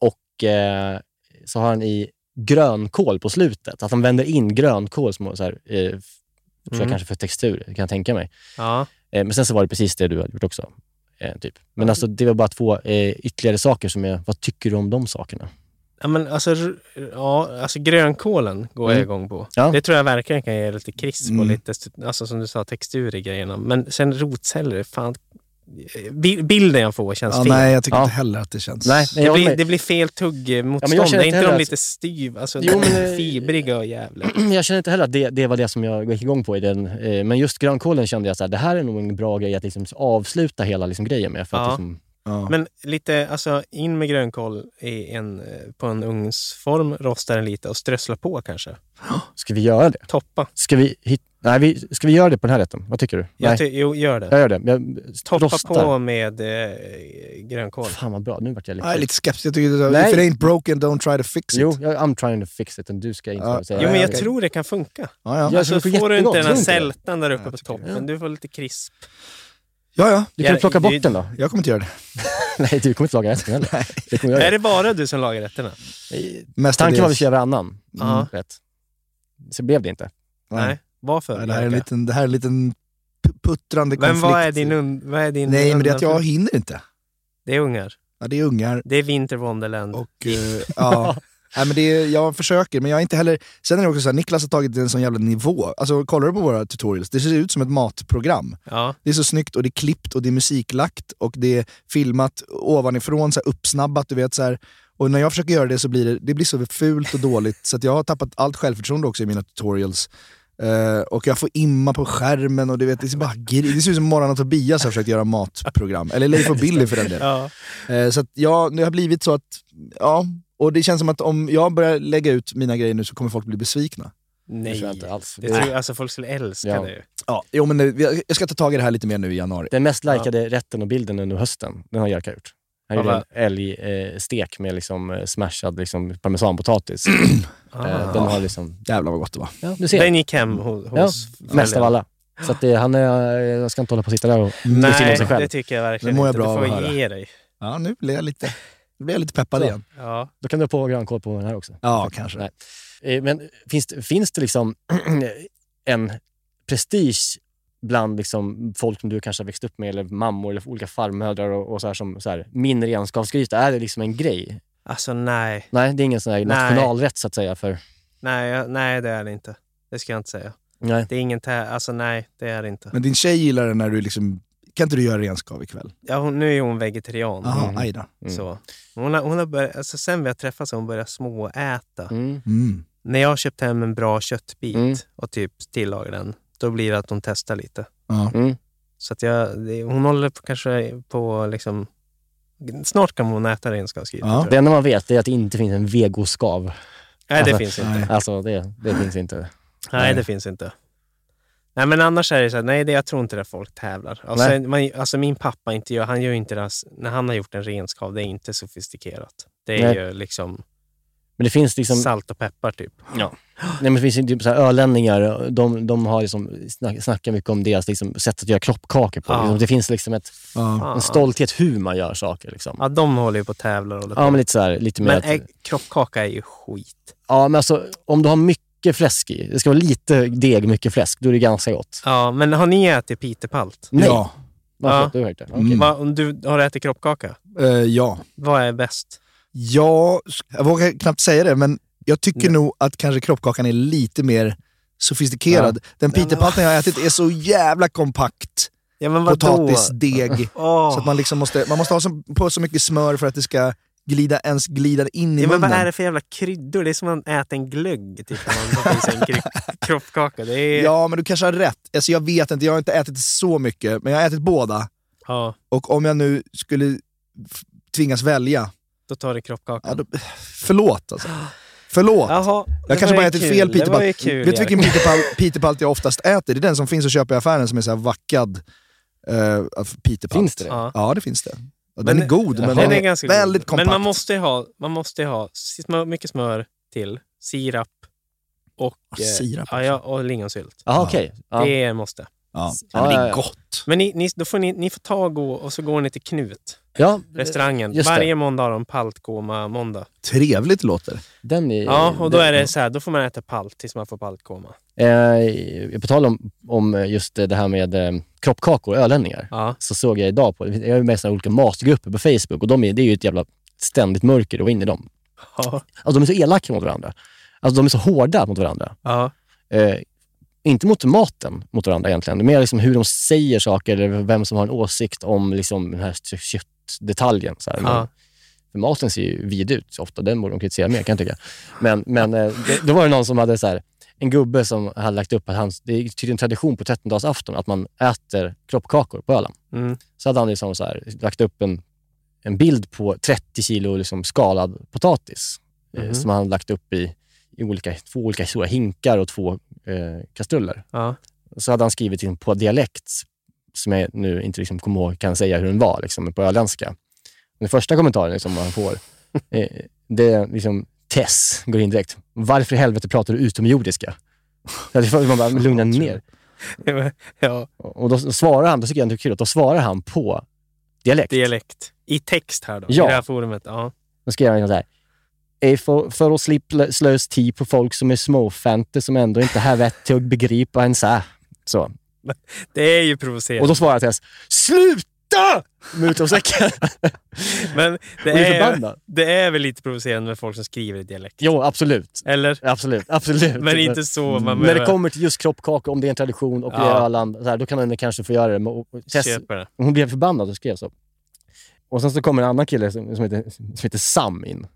och eh, så har han i grönkål på slutet. Att han vänder in grönkål, små, så här, eh, f- tror jag Mm. kanske för textur, kan jag tänka mig. Ja, Eh, men sen så var det precis det du hade gjort också. Eh, typ. Men alltså, det var bara två eh, ytterligare saker som är, vad tycker du om de sakerna? ja, men alltså, r- ja, alltså grönkålen går jag Mm. igång på. Ja. Det tror jag verkligen kan ge lite krisp och Mm. lite, st- alltså som du sa, textur i grejerna. Men sen rotceller, fan. bi- Bilden jag får känns Ja, fel. nej, jag tycker Ja. inte heller att det känns... Nej, men Det jag blir, håller det med. blir fel tuggmotstånd. Ja, men jag känner är inte inte de heller lite styv, alltså Jo, men- eh, fibriga och jävla... <clears throat> jag känner inte heller att det, det var det som jag gick igång på i den. Eh, men just grönkålen kände jag så här, det här är nog en bra grej att liksom avsluta hela liksom, grejen med. För att, Ja. liksom, Ja. Men lite, alltså in med grönkål i en, eh, på en ugnsform, rosta den lite och strössla på kanske. ska vi göra det? Toppa. Ska vi, hit, nej, vi, ska vi göra det på den här rätten? Vad tycker du? Jag nej, ty- jo, gör det. jag gör det. Jag Toppa rostar. på med eh, grönkål. Fan vad bra, nu vart jag lite... Jag är lite skeptisk. Jag tycker det är, Nej. if it ain't broken, don't try to fix it. Jo, jag, I'm trying to fix it, and du ska inte Ja. behöva säga Jo, men jag Okej. tror det kan funka. Ja, ja. Ja. Alltså, det får får du jättegott, inte den här tror inte det? sältan där uppe jag på tycker det. toppen, du får lite krisp. ja, ja. Du kan Ja, plocka det- bort den då. <laughs> Jag kommer inte göra det. Nej, du kommer inte laga rätten <laughs> heller. Det kommer jag Är göra. det bara du som lagar Mm, rätterna? Mestadels. Tanken var att vi skulle göra varannan Ja. rätt. Så blev det inte. Nej. Varför? Nej, det, här är en liten, det här är en liten p- puttrande Men konflikt. vad är din... und- Vad är din Nej, men det är att undanflykt? jag hinner inte. Det är ungar. Ja, det är ungar Det är Winter Wonderland. och... <laughs> eh, ja. Nej, men det är, jag försöker, men jag är inte heller... Sen är det också så här, Niklas har tagit det en sån jävla nivå. Alltså, kollar du på våra tutorials, det ser ut som ett matprogram. Ja. Det är så snyggt och det är klippt och det är musiklagt och det är filmat ovanifrån, så här uppsnabbat. Du vet, så här. Och när jag försöker göra det så blir det, det blir så fult och dåligt så att jag har tappat allt självförtroende också i mina tutorials. Eh, och jag får imma på skärmen och du vet, det, ser bara, gri- det ser ut som Morran och Tobias har försökt göra matprogram. Eller Leif och Billy för den delen. Ja. Eh, Så att ja, det har blivit så att, ja. Och det känns som att om jag börjar lägga ut mina grejer nu så kommer folk bli besvikna. Det Nej. tror jag inte alls. Det Det är tror, alltså folk skulle älska Ja. det ju. Ja, jo, men det- jag- jag ska ta tag i det här lite mer nu i januari. den mest likade rätten och bilden under hösten. Den har Jerka gjort. Han Ja, gjorde va? en älgstek eh, stek med liksom, eh, smashad liksom, <clears throat> parmesanpotatis. eh, Ah. den har liksom... Jävlar vad gott det var. Ja, du ser. Den gick hem ho- ja, hos... mest av alla. Så att det, han är, jag ska inte hålla på och sitta där och tycka om Nej, sig själv. det tycker jag verkligen Det mår jag inte. bra du av att får höra. ge dig. Ja, nu blir jag lite, nu blir jag lite peppad Så. igen. Ja. Då kan du ha på grönkål på den här också. Ja, kanske. Nej. Eh, Men finns, det- finns det liksom <clears throat> en prestige bland liksom folk som du kanske har växt upp med, eller mammor eller olika farmödrar och, och så här som så här, min renskapsgryta? Är det liksom en grej? Alltså nej. Nej, det är ingen sån här Nej. nationalrätt så att säga. För, Nej, jag- nej, det är det inte. Det ska jag inte säga. nej. Det är ingen tä- Alltså nej, det är det inte. Men din tjej gillar det när du liksom, kan inte du göra renskav ikväll? Ja, hon, nu är hon vegetarian. Jaha, Mm. aj då. Mm. Så. Hon har, hon har börjat, alltså sen vi har träffats har hon börjat småäta. Mm. Mm. När jag har köpt hem en bra köttbit Mm. och typ tillagar den, då blir det att hon testar lite. Ja. Mm. Så att jag, det, hon håller på, kanske på liksom... Snart kan hon äta renskavsgryta. Ja. tror jag. Det enda man vet är att det inte finns en vegoskav. Nej, det Alltså, finns inte. Nej. Alltså, det, det finns inte. Nej, det finns inte. Nej, men annars är det så här, nej, det, jag tror inte det folk tävlar. Och sen, man, alltså min pappa, inte gör, han gör ju inte det, här s- när han har gjort en renskav, det är inte sofistikerat. Det är Nej. ju liksom Men det finns liksom... salt och peppar typ. Nej, men det finns ju typ så här, ölänningar, de, de har liksom snack, snackar mycket om deras liksom, sätt att göra kroppkakor på. Ja. Liksom, det finns liksom ett, Ja. en stolthet hur man gör saker. Liksom. Ja, de håller ju på och tävlar. Och håller på. Ja, men lite så här, lite mer... men att- ägg, kroppkaka är ju skit. ja, men alltså, om du har mycket fläsk i, det ska vara lite deg, mycket fläsk, då är det ganska gott. Ja, men har ni ätit pitepalt? Nej, Ja. varför? Ja. Du har inte. Okej. Mm. Va, om du har ätit kroppkaka, Eh, ja. vad är bäst? Ja, jag vågar knappt säga det, men jag tycker nog att kanske kroppkakan är lite mer sofistikerad. Den men pitepalten jag har ätit är så jävla kompakt. Ja, men vadå? Potatisdeg. Åh. Så att man, liksom måste, man måste ha så, på så mycket smör för att det ska glida, ens glida in i Ja, men munnen. vad är det för jävla kryddor? Det är som att man äter en glögg typ, när man tar i sig en <laughs> kry- kroppkaka. Det är... Ja, men du kanske har rätt. Alltså, jag vet inte, jag har inte ätit så mycket, men jag har ätit båda. Ja, Och om jag nu skulle f- tvingas välja, då tar du kroppkaka. ja, då, förlåt alltså. Förlåt. Jaha, jag kanske bara ätit fel Det var ju pitepalt. kul. Vet du vilken <laughs> pitepal- pitepalt jag oftast äter? Det är den som finns att köpa i affären som är så här vackad. Uh, pitepalt. Finns det det? Ja. Ja, det finns det. Ja, Men- den är god, Den men den Den är är ganska väldigt god. kompakt. Men man måste ju ha, man måste ju ha smör, mycket smör till, sirap och, eh, Ah, sirap ja, ja, och lingonsylt. Jaha, okej. Ja. Det är måste. Ja. Ja, men det ja, är ja. gott. Men ni, ni, då får ni, ni får ta och gå och så går ni till Knut, Ja, restaurangen. Just det. Varje måndag har de paltkoma-måndag. Trevligt låter det. den är... Ja, och då är det så här, då får man äta palt tills man får paltkoma. Eh, på tal om, om just det här med eh, kroppkakor och ölänningar. Ja. så såg jag idag på, jag är ju med i såna här olika matgrupper på Facebook och de är, det är ju ett jävla ständigt mörker att vara inne i dem. Ja. Alltså de är så elaka mot varandra. Alltså de är så hårda mot varandra. ja. Eh, inte mot maten mot varandra egentligen, det är mer liksom hur de säger saker eller vem som har en åsikt om liksom den här kö- köttdetaljen. Så här. Ja. För maten ser ju vid ut ofta, den borde de kritisera mer kan jag tycka. Men, men eh, det, då var det någon som hade så här, en gubbe som hade lagt upp att han, det är tydligen tradition på 13-dagsafton att man äter kroppkakor på Öland Mm. så hade han liksom så här, lagt upp en, en bild på 30 kilo liksom skalad potatis eh, Mhm. som han hade lagt upp i, i olika, två olika stora hinkar och två eh, kastruller. Ja. <laughs> Så hade han skrivit in på dialekt, som jag nu inte liksom kommer ihåg, kan säga hur den var, liksom, men på öländska. Den första kommentaren liksom, man <laughs> får, eh, det är liksom Tess går in direkt. Varför i helvete pratar du utomjordiska? Så att det får- man bara lugna ner. <laughs> ja. Och då svarar han, då tycker jag det är kul, att då svarar han på Dialekt. Dialekt. I text här då, Ja. i det här forumet. Ja. Då skrev han så här. Är för, för att slippa slös tid på folk som är småfanter som ändå inte har vett till att begripa en så här. Så. Det är ju provocerande. Och då svarar Tess, sluta! Muta och säcken. Men <laughs> det Och är är, förbannad. det är väl lite provocerande med folk som skriver i dialekt? Jo, absolut. <laughs> Eller? Absolut, absolut. Mm. Men inte så man När det behöver- kommer till just kroppkaka, om det är en tradition och det Ja. är Öland, så här, då kan hon kanske få göra det. Men- och- och Tess, Köper det. hon blev förbannad och skrev så. Och sen så kommer en annan kille som, som, heter, som heter Sam in.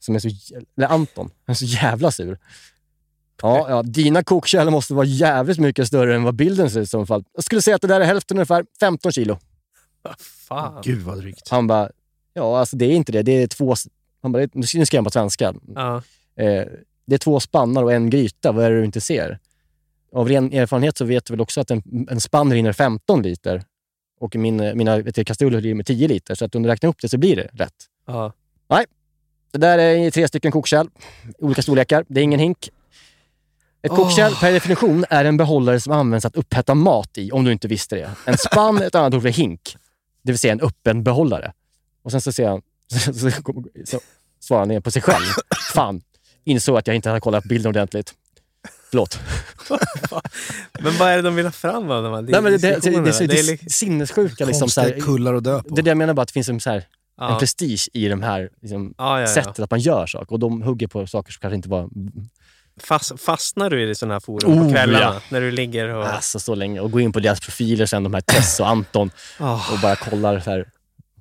Som är så, jä- eller Anton. Han är så jävla sur. Ja, ja, dina kokkärl måste vara jävligt mycket större än vad bilden ser ut som. i alla fall. Jag skulle säga att det där är hälften ungefär, 15 kilo. Fan. Gud vad drygt. Han bara, ja alltså det är inte det. Det är två... s- Han bara, nu ska nu ska jag på svenska. Ja. Eh, det är två spannar och en gryta. Vad är det du inte ser? Av ren erfarenhet så vet du väl också att en, en spann rinner 15 liter och min, eh, mina vet du, kastruller rinner med 10 liter. Så att om du räknar upp det så blir det rätt. Ja. Nej, det där är tre stycken kokkärl. Olika storlekar. Det är ingen hink. Ett kokkärl per definition är en behållare som används att upphetta mat i, om du inte visste det. En spann är ett annat ord för hink, det vill säga en öppen behållare. Och sen så ser han, <laughs> så, så, så svarar han igen på sig själv. Fan, insåg att jag inte hade kollat bilden ordentligt. Förlåt. Men vad är det de vill ha fram av dem? Nej, men det, det, det, det, diskussionerna. det, Det är det li- är sinnessjuka. Liksom, så Konstiga här, kullar att dö på. det är det jag menar bara, att det finns en, så här, en Ja. prestige i de här liksom, Ja, ja, ja. sättet att man gör saker. Och de hugger på saker som kanske inte var... Fast, fastnar du i sådana här forum Oh, på kvällarna? ja. När du ligger och... Alltså så länge. Och gå in på deras profiler sen, de här Tess och Anton, Ah, och bara kollar så här,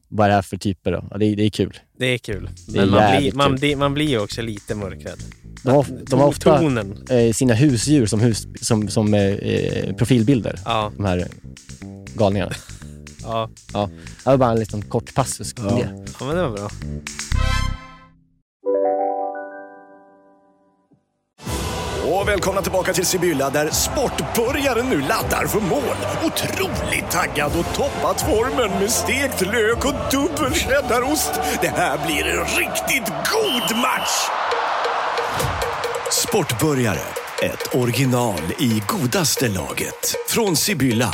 vad är det här för typer. Då. Ja, det, det är kul. det är kul. Det är Men man blir, jävligt man, kul. blir, man blir ju också lite mörkrädd. De har, de har ofta Tonen. eh, sina husdjur som, hus, som, som eh, eh, profilbilder, Ja, de här galningarna. ja. Ja. Det var bara en liten kort passus om det. ja, men det var bra. Och välkomna tillbaka till Sibylla där sportbörjaren nu laddar för mål. Otroligt taggad och toppat formen med stekt lök och dubbel cheddarost. Det här blir en riktigt god match! Sportbörjare, ett original i godaste laget. Från Sibylla.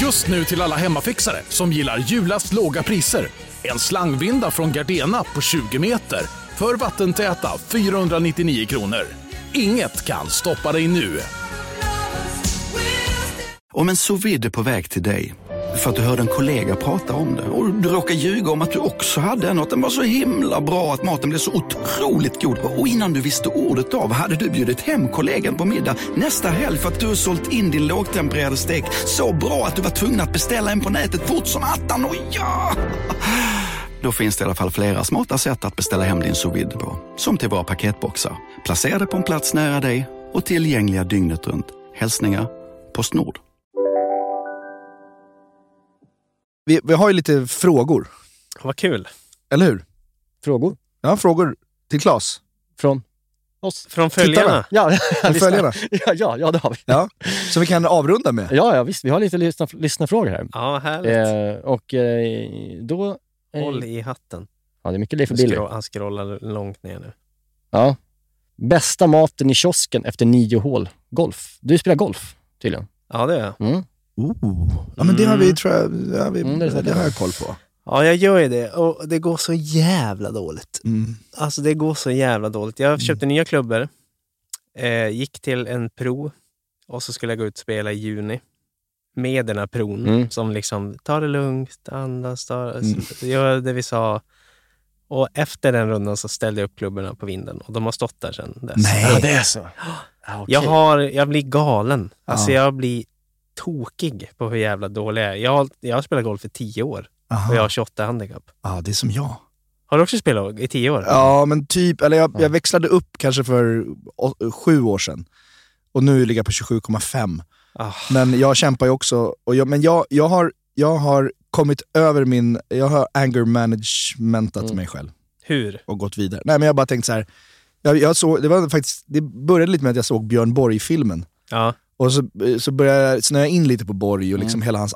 Just nu till alla hemmafixare som gillar Julas låga priser. En slangvinda från Gardena på 20 meter för vattentäta 499 kronor. Inget kan stoppa dig nu. Om en sous vide är på väg till dig för att du hörde en kollega prata om det och du råkade ljuga om att du också hade en och att den var så himla bra att maten blev så otroligt god och innan du visste ordet av hade du bjudit hem kollegan på middag nästa helg för att du sålt in din lågtempererade stek så bra att du var tvungen att beställa en på nätet fort som attan och ja! Då finns det i alla fall flera smarta sätt att beställa hem din sous vide på. Som till våra paketboxar. Placerade på en plats nära dig och tillgängliga dygnet runt. Hälsningar Postnord. Vi, vi har ju lite frågor, Vad kul. eller hur? Frågor? Ja, frågor till Claes. Från oss? Från följarna. Ja, <laughs> Från följarna. ja, ja, ja, det har vi. Ja, som vi kan avrunda med. Ja, ja, visst. Vi har lite lyssna, lyssnarfrågor här. Ja, härligt. Eh, och eh, då... eh, Håll i hatten. Ja, det är mycket Leif och Billy. Skro, han scrollar långt ner nu. Ja. Bästa maten i kiosken efter nio hål golf. Du spelar golf tydligen. Ja, det gör jag. Mm. Ooh. Ja, men det har vi, tror jag, ja, vi, Mm, det är det, säkert. har jag koll på. Ja, jag gör ju det. Och det går så jävla dåligt. Mm. Alltså det går så jävla dåligt. Jag köpte nya klubbor, eh, gick till en pro och så skulle jag gå ut och spela i juni med den här pron Mm. som liksom, ta det lugnt, andas, ta, gör det vi sa. Och efter den rundan så ställde jag upp klubborna på vinden och de har stått där sedan dess. Ja, det är så. Jag, har, jag blir galen. Alltså jag blir tokig på hur jävla dålig jag är. Jag har, jag har spelat golf i tio år och jag har 28 handikapp. Ja, det är som jag. Har du också spelat i tio år? Ja, men typ. Eller jag, jag växlade upp kanske för å, sju år sedan. Och nu ligger jag på 27,5. Ah. Men jag kämpar ju också. Och jag, men jag, jag, har, jag har kommit över min... Jag har anger managementat Mm. mig själv Hur? och gått vidare. Nej, men jag bara tänkte så här. Jag, jag såg, det, var faktiskt, det började lite med att jag såg Björn Borg-filmen. Ja. Och så, så började jag snöa in lite på Borg och liksom Mm. hela hans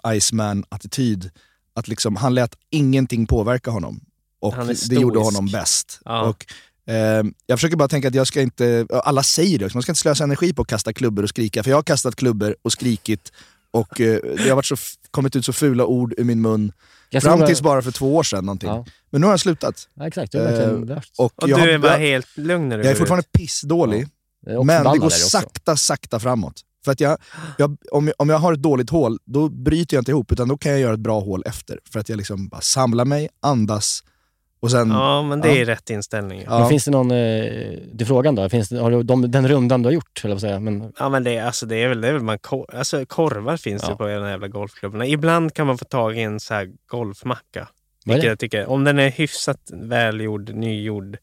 Iceman-attityd. Att liksom, han lät ingenting påverka honom. Och Han är det gjorde stoisk. honom bäst. Ja. Och, ehm, jag försöker bara tänka att jag ska inte, alla säger det också, man ska inte slösa energi på att kasta klubbor och skrika. För jag har kastat klubbor och skrikit och eh, det har varit så, f- kommit ut så fula ord ur min mun. Jag fram såg- tills bara för två år sedan någonting. Ja. Men nu har jag slutat. Ja, exakt. Det är verkligen Eh, värst. och Och jag du har- är bara jag- helt lugn när du Jag är går fortfarande ut. pissdålig, Jag är också men det ballad går där också. sakta, sakta framåt. För att jag, jag, om, jag, om jag har ett dåligt hål, då bryter jag inte ihop, utan då kan jag göra ett bra hål efter. För att jag liksom bara samlar mig, andas och sen... Ja, men det är rätt inställning. Ja. Men finns det någon... Eh, till frågan då. Finns det, har du, de, den rundan du har gjort, höll jag på att säga. Men, Ja, men det, är- alltså, det, är väl, det är väl man kor alltså, korvar finns det på de här jävla golfklubbarna. Ibland kan man få tag i en så här golfmacka. Vad är Vilket det? jag tycker, om den är hyfsat välgjord, nygjord.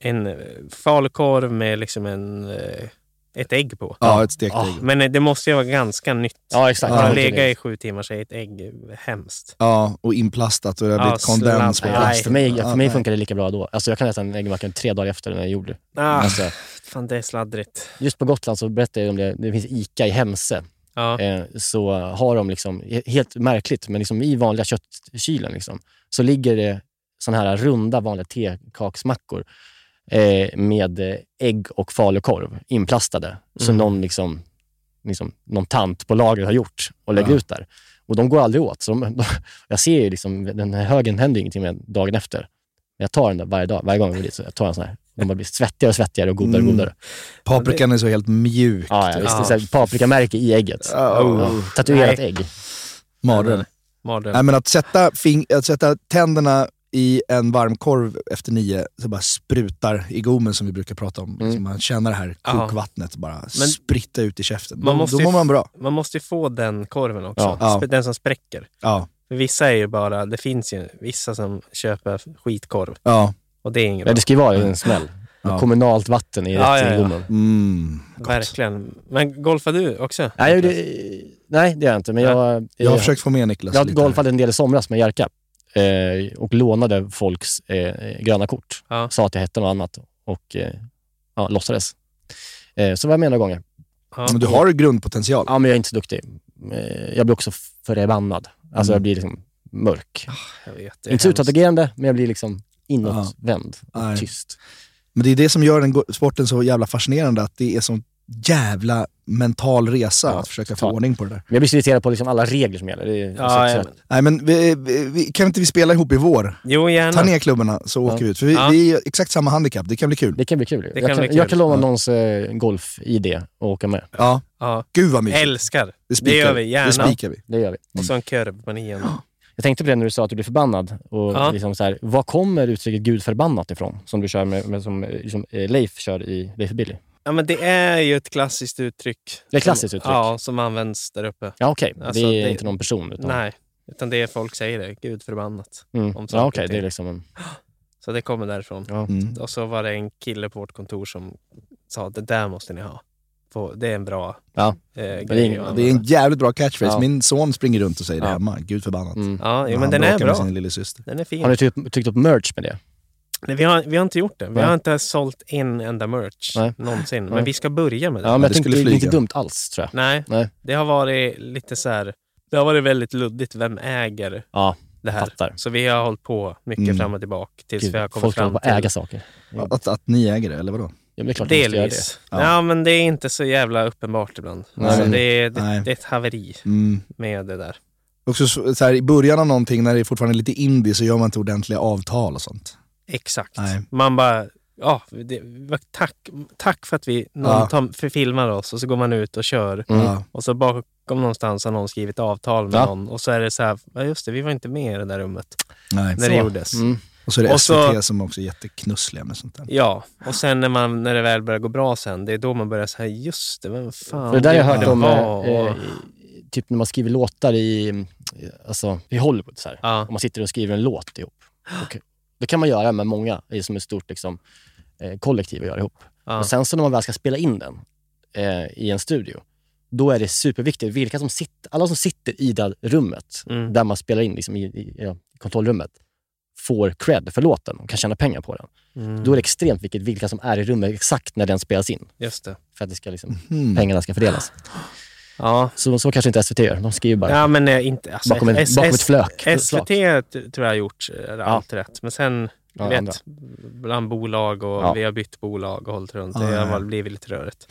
En eh, falukorv med liksom en, eh, ett ägg på. Ja, ett stekt ägg. Men eh, det måste ju vara ganska nytt. Ja, exakt. Har Ja, den det är legat det. i sju timmar så är ett ägg hemskt. Ja, och inplastat och det har Ja, blivit kondens på sladd. plast. Nej. för mig, Ja, för mig nej. funkar det lika bra då. Alltså, jag kan äta en äggmacka tre dagar efter den jag gjorde. Ah, Alltså, Fan, det är sladdrigt. just på Gotland så berättade jag om det. Det finns ICA i Hemse. Ja. Eh, så har de, liksom, helt märkligt, men liksom i vanliga köttkylen liksom, så ligger det såna här runda vanliga tekaksmackor eh, med eh, ägg och falukorv inplastade som Mm. någon, liksom, liksom, någon tant på lagret har gjort och lägger Ja. ut där. Och de går aldrig åt. Så de, de, <laughs> jag ser ju liksom, den här högen händer ju ingenting med dagen efter. Men jag tar den där varje dag, varje gång jag går dit. Så jag tar en sån här. De bara blir svettigare och svettigare och godare och Mm. godare. Paprikan är så helt mjuk. Ja, ja, visst. Det är så här paprikamärke i ägget. Ja, oh. Ja, tatuerat Nej. ägg. Mardröm. Mardröm. Nej, men att sätta, fing- att sätta tänderna i en varmkorv efter nio, så bara sprutar i gommen som vi brukar prata om. Så man känner det här Mm. Ja. kokvattnet bara Men- spritta ut i käften. Man då, måste då ju mår f- man bra. Man måste ju få den korven också. Ja. Sp- Den som spräcker. Ja. För vissa är ju bara, det finns ju vissa som köper skitkorv. Ja. Och det är inget Nej, bra. det ska ju vara en smäll. Ja. Med Kommunalt vatten i Ja, rätt ja, ja. i gommen. Verkligen. Men golfar du också? Nej, jag, gjorde- nej, det gör jag inte. Men Nej. jag, Jag har försökt få med Niklas Jag lite golfade en del i somras med Jerka eh, och lånade folks eh, gröna kort. Ja. Sa att jag hette något annat och eh, ja, låtsades. Eh, så var jag med några gånger. Ja. Men du har grundpotential. Ja, men jag är inte så duktig. Eh, jag blir också förbannad. Alltså, Mm. jag blir liksom mörk. Jag vet, Ah, det är inte så utåtagerande, men jag blir liksom inåtvänd Nej. och tyst. Men det är det som gör den go- sporten så jävla fascinerande, att det är sån jävla mental resa att försöka få ordning på det där. Men jag blir så irriterad på liksom alla regler som gäller. Det är Ja, så- ja, så- men- Nej, men vi, vi, vi, kan inte vi spela ihop i vår? Jo, gärna. Ta ner klubborna så Ja. åker vi ut. För vi, Ja. vi är exakt samma handikapp, det kan bli kul. Det kan bli kul. Det jag, kan kan, bli kul. jag kan låna Ja. någons eh, golf-ID och åka med. Ja. Ja. Gud vad mysigt. Älskar. Det Det, spikar gör vi. vi gärna. Det spikar vi. Det gör vi. Och så en korv på nian. Jag tänkte på det när du sa att du blev förbannad. Och Ja. liksom så här, var kommer uttrycket Gud förbannat ifrån? Som du kör med, med som eh, liksom, eh, Leif kör i Leif och Billy. Ja, men det är ju ett klassiskt uttryck. Det är ett klassiskt som, uttryck. Ja, som används där uppe. Ja, okej. Det är inte någon person, utan- Alltså, Nej, utan det är folk säger det. Gud förbannat. Mm. om saker ja, och okej. ting. Det är liksom en... Så det kommer därifrån. Mm. Och så var det en kille på vårt kontor som sa det där måste ni ha. På, det är en bra Ja. eh, grej. Det är, en, det är en jävligt bra catchphrase. Ja. Min son springer runt och säger det hemma. Gud förbannat. Ja, jo, men Han den är bråkar bra. Med sin lillasyster. Den är fin. Har ni typ, tryckt upp merch med det? Nej, vi, har, vi har inte gjort det. Vi Nej. har inte sålt en enda merch Nej. någonsin. Men Nej. vi ska börja med det. Ja, men jag tänkte, det är inte dumt alls, tror jag. Nej. Nej. det har varit lite så här... Det har varit väldigt luddigt. Vem äger Ja, det här? fattar. Så vi har hållit på mycket Mm. fram och tillbaka tills Gud, vi har kommit folk fram håller på till... att äga saker. Mm. Att, att ni äger det, eller vadå? Ja, men det är klart de måste göra Delvis. det. Ja. men det är inte så jävla uppenbart ibland. Nej. Alltså, det, är, det, Nej. det är ett haveri Mm. med det där. Också så så här, I början av någonting, när det är fortfarande är lite indie, så gör man inte ordentliga avtal och sånt. Exakt. Nej. Man bara, ja, det, vad- tack, tack för att vi någon Ja. tar, för filmar oss och så går man ut och kör. Mm. Ja. Och så bakom någonstans har någon skrivit avtal med Ja. någon och så är det så här, ja just det, vi var inte med i det där rummet Nej. när det gjordes. Mm. Och så är det Och så- SVT som också är jätteknussliga med sånt där. Ja, och sen när, man, när det väl börjar gå bra sen, det är då man börjar säga just det, vem fan För det där har jag hört det om, var?" eh, eh, typ när man skriver låtar i, eh, alltså, i Hollywood. Så här. Om man sitter och skriver en låt ihop. Och, det kan man göra med många, i som ett stort liksom, eh, kollektiv att göra ihop. Ja. Och sen så när man väl ska spela in den eh, i en studio, då är det superviktigt vilka som sitter, alla som sitter i det rummet, Mm, där man spelar in liksom, i, i, ja, i kontrollrummet, får cred för låten och kan tjäna pengar på den. Mm. Då är det extremt viktigt vilka som är i rummet exakt när den spelas in. Just det. För att det ska liksom, Mm. Hmm. Mhm. pengarna ska fördelas. Ja. Så, så kanske inte SVT gör. De skriver bara Ja, men eh, inte, alltså, bakom, en, S- bakom S- ett flök. SVT t- tror jag har gjort eh, allt rätt. Men sen, Ja, du vet, andra. bland bolag och Ja. vi har bytt bolag och hållit runt. Ja, det ja, har ja. väl blivit lite rörigt.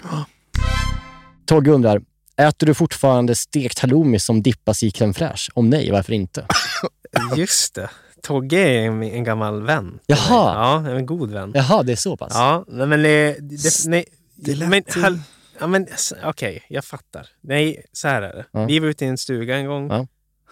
Togge undrar, Äter du fortfarande stekt halloumi som dippas i crème fraîche? Om nej, varför inte? Eh, Just det. Togge är en, en gammal vän. Jaha. Ja, en god vän. Jaha, det är så pass? Ja, nej, men eh, det... det nej, Det lät men, ju- hall, ja, men s- okej, jag fattar. Nej, så här är det. Ja. Vi var ute i en stuga en gång. Ja.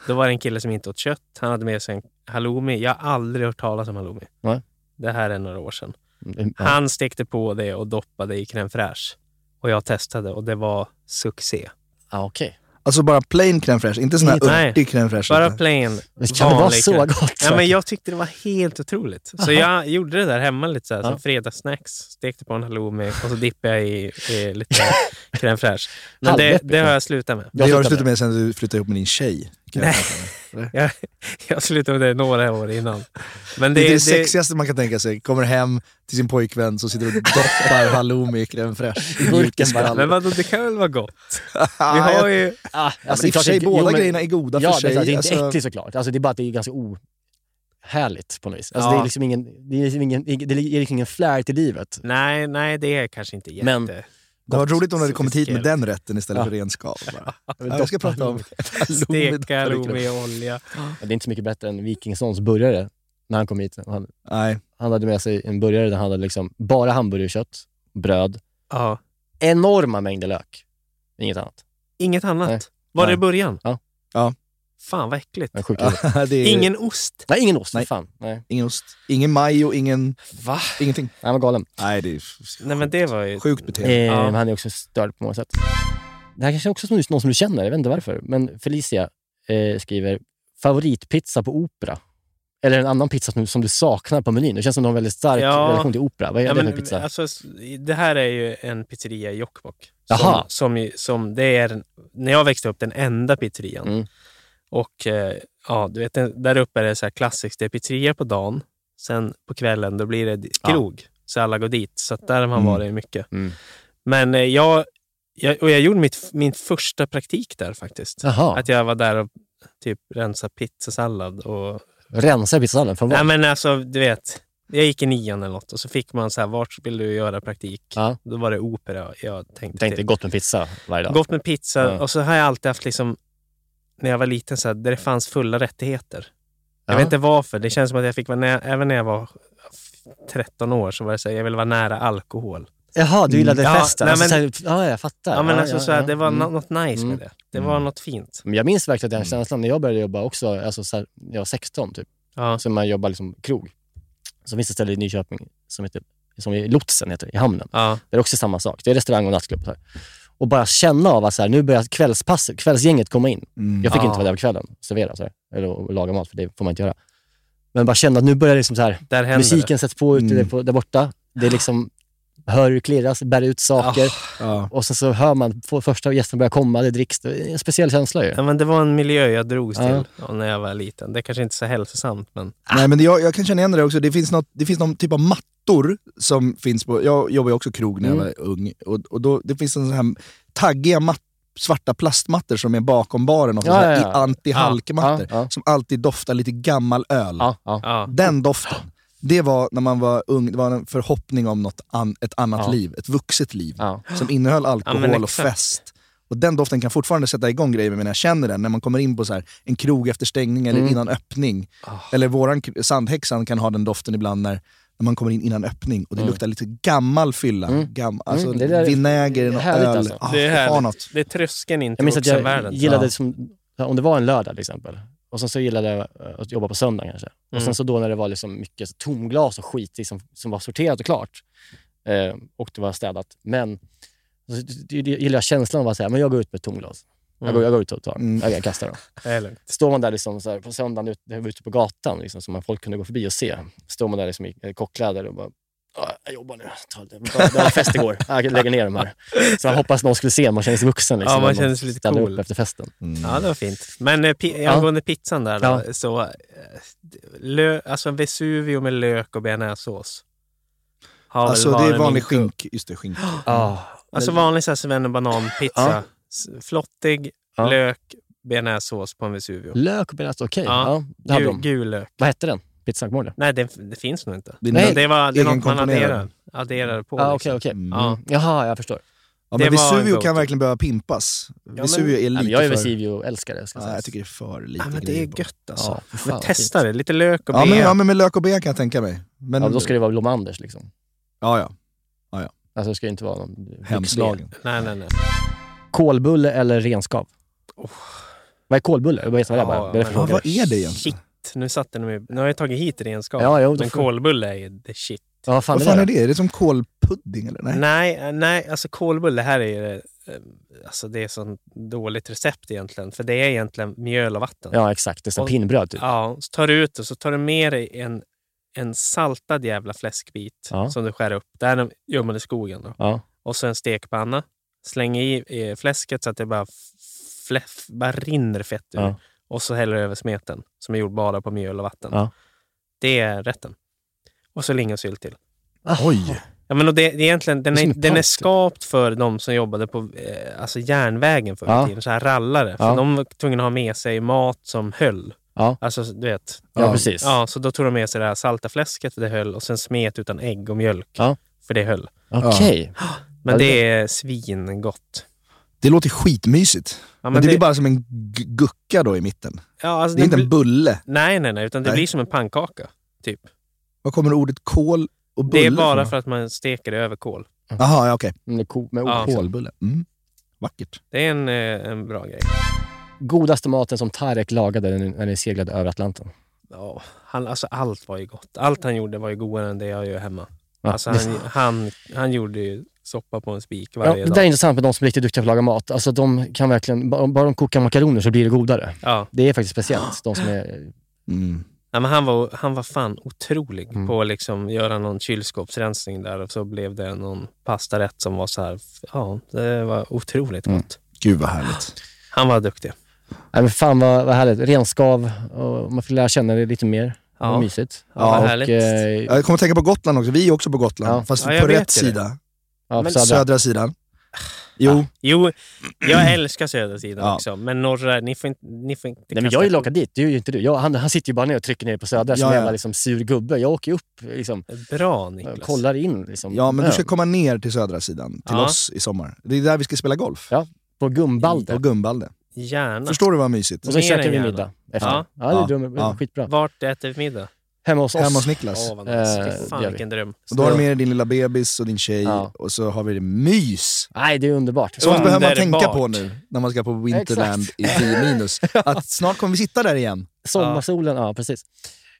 Då var det en kille som inte åt kött. Han hade med sig en halloumi. Jag har aldrig hört talas om halloumi. Nej. Det här är några år sedan. Mm, ja. Han stekte på det och doppade i crème fraîche. Och jag testade och det var succé. Ah, okay. Alltså bara plain crème fraîche, inte sån här Nej. örtig crème fraîche. Bara plain. Det kan vara vanlig så crème. gott, Ja, men säkert. jag tyckte det var helt otroligt. Så Aha. jag gjorde det där hemma lite så här, Ja. som fredagssnacks. Stekte på en halloumi och så dippade jag i, i lite <laughs> crème fraîche. Men det, Halvdeppigt. det har jag slutat med. Det har du slutat med sen du flyttade ihop med din tjej. kan jag Nej. tänka mig. <laughs> Jag, jag slutade med det några år innan. Men det, det, är det, det- sexigaste man kan tänka sig. Kommer hem till sin pojkvän så sitter och <laughs> doppar halloumi i crème fraîche i mjukisskall. Men vadå, det kan väl vara gott? Vi har ju... Ah, men i och för sig, klart det- båda jo, men- grejerna är goda för ja, Det, är sig, klart, det är alltså. inte äckligt såklart. Alltså, det är bara att det är ganska ohärligt på något vis. Alltså, Ja. det, är liksom ingen, det, är liksom ingen, det ger liksom ingen flair till livet. Nej, nej, det är kanske inte jätte... Men- Det var roligt om du hade kommit hit med Sofistikerat. den rätten istället Ja. för ren skav. bara. Jag Ja, Jag ska prata om Steka doppad i halloumi i crème. olja. Ja, Det är inte så mycket bättre än Wikingssons burgare när han kom hit. Han, Nej. <laughs> han hade med sig en burgare där han hade liksom bara hamburgerkött, bröd, Ja. enorma mängder lök. Inget annat. Inget annat. Nej. Var det i Nej. början? Ja. Ja. Fan vad äckligt. Men sjukt. Ja, det är- Ingen ost. Nej, ingen ost. för Nej. Fan. Nej. Ingen ost. Ingen majo, ingen... Va? Ingenting. Han var galen. Nej, det är Nej, men det var ju... sjukt Eh, beteende. Ja. Han är också störd på många sätt. Det här kanske också är någon som du känner, jag vet inte varför. Men Felicia eh, skriver favoritpizza på opera. Eller en annan pizza som, som du saknar på menyn. Det känns som du har en väldigt stark Ja. relation till opera. Vad är Ja, det men, för pizza? Alltså, s- det här är ju en pizzeria i Jokkmokk. Jaha. Som, som, ju- som det är, den- när jag växte upp, den enda pizzerian. Mm. Och eh, ja, du vet, den- där uppe är det så här klassiskt. Det är pizzeria på dagen, sen på kvällen då blir det di- Ja. krog. Så alla går dit. Så att där har man Mm. varit mycket. Mm. Men eh, jag, jag, och jag gjorde mitt, min första praktik där faktiskt. Jaha. Att jag var där och typ rensade pizzasallad och Rensa pizzasalladen från Nej, vad? men alltså, du vet. Jag gick i nian eller något och så fick man så här, vart vill du göra praktik? Ja. Då var det opera jag tänkte, Jag tänkte till. gott med pizza varje dag. Gott med pizza. Ja. Och så har jag alltid haft, liksom, när jag var liten, så här, där det fanns fulla rättigheter. Jag Ja. vet inte varför. Det känns som att jag fick vara nä- även när jag var 13 år så var det så här, jag ville vara nära alkohol. Jaha, du gillade Mm, Ja, festen? nej, alltså, men- så här, ja, jag fattar. Ja, men ja, alltså, ja, så här, ja. det var Mm. no- något nice Mm. med det. Det var något fint. Men jag minns verkligen den Mm. känslan när jag började jobba också, alltså så här, när jag var 16 typ. Ja. Så man jobbar liksom krog. Så finns det ett ställe i Nyköping som heter, som är Lotsen heter det, i hamnen. Ja. Det är också samma sak. Det är restaurang och nattklubb. Så här. Och bara känna av att så här, nu börjar kvällspasset, kvällsgänget komma in. Mm. Jag fick Ja. inte vara där på kvällen och servera så här, eller och laga mat, för det får man inte göra. Men bara känna att nu börjar det liksom så här, Där händer musiken det. sätts på ute Mm. där, på, där borta. Det är liksom, hör hur det klirras, bär ut saker. Ah. Ja. Och sen så hör man få- första gästen börja komma, det dricks. Det är en speciell känsla ju. Ja, men det var en miljö jag drogs Ja. till ja, när jag var liten. Det är kanske inte så hälsosamt, men... Ah. Nej, men det, jag, jag kan känna igen det där också. Det finns, något, det finns någon typ av mattor som finns på... Jag jobbade ju också krog när Mm. jag var ung. Och, och då, det finns en sån här taggiga matt, svarta plastmattor som är bakom baren. Och Ja, sån här ja, ja. anti-halkmattor. Ja, ja. Som alltid doftar lite gammal öl. Ja, ja. Ja. Den doften. Det var när man var ung, det var en förhoppning om något an, ett annat Ja. liv. Ett vuxet liv. Ja. Som innehöll Ja, alkohol men och exakt. fest. Och den doften kan fortfarande sätta igång grejer med mig när jag känner den. När man kommer in på så här, en krog efter stängning eller Mm. innan öppning. Ah. Eller våran k- sandhäxan kan ha den doften ibland när, när man kommer in innan öppning och det luktar lite gammal fylla. Mm. Gam, alltså Mm, det där är vinäger, någon härligt öl. alltså. Ah, Det är, har härligt. något. det är tröskeln in Jag till minns att jag vuxenvärlden. gillade, Ja. som, om det var en lördag till exempel, och sen så gillade jag eh, att jobba på söndag kanske. Och Mm. sen så då när det var liksom mycket så tomglas och skit i som, som var sorterat och klart eh, och det var städat. Men så gillar jag känslan av att säga, men jag går ut med ett tomglas. Jag, Mm. går, jag går ut och tar, Mm. jag, jag kastar dem. Det är lugnt. Står man där liksom så här, på söndagen ute, ute på gatan, liksom, som man- folk kunde gå förbi och se, står man där liksom i eh, kockkläder och bara "Ah, jag jobbar nu. Ta det. Det var fest igår. Jag lägger ner de här. Så man hoppas någon skulle se. Man känner sig vuxen. Liksom, Ja, man när känner sig lite ställer cool. upp efter festen. Ja, det var fint. Men eh, pi- Ja. angående pizzan där, då, Ja. så, eh, lö- alltså Vesuvio med lök och bearnaisesås. Har väl Alltså, det varit är vanlig min- skink. Just det, skink. Ja. Alltså vanlig så här sven och bananpizza. Ah, Ja. S- Flottig, Ja. lök, bearnaisesås på en Vesuvio. Lök och bearnaise, okej. Ja. Ja. det hade Gul, de. gul lök. Vad hette den? Pizzan, kommer du ihåg det? Nej, det, det finns nog inte. Det är Nej. Det, var, det är något man Egenkomponerad. adderar, adderar på. Ja, liksom. Okej, okej. Mm. Ja. Jaha, jag förstår. Ja, Det men var en Vesuvio go-to. kan verkligen behöva pimpas. Ja, Vesuvio är men- lite ja, Jag är för- Vesuvio-älskare. Ska jag, säga. jag tycker det är för lite Ja, men det grejer är på. gött, alltså. Ja, Men testa fint. det. Lite lök och ja, men, bea. ja, men med lök och bea kan jag tänka mig. Men, ja, då ska det vara Blomanders liksom. Ja, ja. ja, ja. Alltså det ska ju inte vara någon... Hemslagen. Nej, nej, nej. Kolbulle eller renskav? Vad är kolbulle? Jag vet vad det är bara. Det är frågan. Shit, nu satt den med, Nu har jag tagit hit renskap. Ja, jo, då men får- kolbulle är ju the shit. Ja, vad fan, Vad fan är det? Är det som kolpudding eller? Nej. Nej, eh, nej, alltså kolbulle här är ju det, eh, alltså det är sånt dåligt recept egentligen. För det är egentligen mjöl och vatten. Ja, exakt. Det är som Och- pinnbröd typ. Ja, så tar du ut det så tar du med dig en, en saltad jävla fläskbit Ja. som du skär upp. Det här är de- gör man i skogen. Då. Ja. Och så en stekpanna. Släng i eh, fläsket så att det bara, fläff, bara rinner fett ur. Ja. Och så häller du över smeten som är gjord bara på mjöl och vatten. Ja. Det är rätten. Och så lingonsylt till. Oj! Ja, men och det, det är egentligen, den, Det är är, som en typ. den är palt. skapt för de som jobbade på eh, alltså järnvägen förr i Ja. tiden, så här rallare. För Ja. De var tvungna att ha med sig mat som höll. Ja. Alltså, du vet. Ja, precis. Ja, så då tog de med sig det här salta fläsket, för det höll, och sen smet utan ägg och mjölk, Ja. för det höll. Okej. Ja. Men det är svingott. Det låter skitmysigt. men, men det, det- blir bara som en gu- gucka då i mitten. Ja, alltså, det är den inte en bli- bulle. Nej, nej, nej, utan det Nej. blir som en pannkaka, typ. Var kommer ordet kol och bulle det är bara ifrån? för att man steker det över kol. Jaha, ja, okej. Med, med Ja. kolbulle. Mm. Vackert. Det är en, eh, en bra grej. Godaste maten som Tarek lagade när ni, när ni seglade över Atlanten. Ja, han, alltså allt var ju gott. Allt han gjorde var ju godare än det jag gör hemma. Ja. Alltså han, <laughs> han, han gjorde ju soppa på en spik Ja, varje det där är dag. intressant med de som är riktigt duktiga på att laga mat. Alltså de kan verkligen, bara, bara de kokar makaroner så blir det godare. Ja. Det är faktiskt speciellt. De som är, Mm. Ja, men han, var, han var fan otrolig på att liksom göra någon kylskåpsrensning där och så blev det någon pastarätt som var så här, ja, det var otroligt Mm. gott. Gud vad härligt. Han var duktig. nej, men fan vad, vad härligt. Renskav, och man får lära känna det lite mer. Ja. Vad mysigt. Ja, vad härligt. eh, Jag kommer att tänka på Gotland också. Vi är också på Gotland, Ja. fast Ja, jag på vet rätt ju det. Ah. sida. ja, Men södra. Södra sidan. Jo. Jo, jag älskar södra sidan Ja. också, men norra, ni får inte... Ni får inte Nej, men kasta- jag vill åka dit, det är ju inte du. Jag, han, han sitter ju bara ner och trycker ner på Södra som Ja, en ja. jävla liksom, sur gubbe. Jag åker ju upp liksom, Bra och Niklas. kollar in. Liksom, Ja, men du ska ön. komma ner till södra sidan, till Ja. oss i sommar. Det är där vi ska spela golf. Ja, på Gumbalde. På Gumbalde. Gärna. Förstår du vad mysigt? Och sen Mer käkar än vi gärna. middag efter. Ja, Ja. det är Ja, dum, ja. skitbra. Vart äter vi middag? Hemma hos oss. Hemma hos Niklas. Åh, vad nice. Eh, Fy det fan gör vi. vilken dröm. Och då har du med dig din lilla bebis och din tej Ja. och så har vi det mys. Nej, det är underbart. Sånt Underbart. behöver man tänka på nu när man ska på Winterland i 10 <laughs> minus. Att snart kommer vi sitta där igen. Sommarsolen, ja, precis.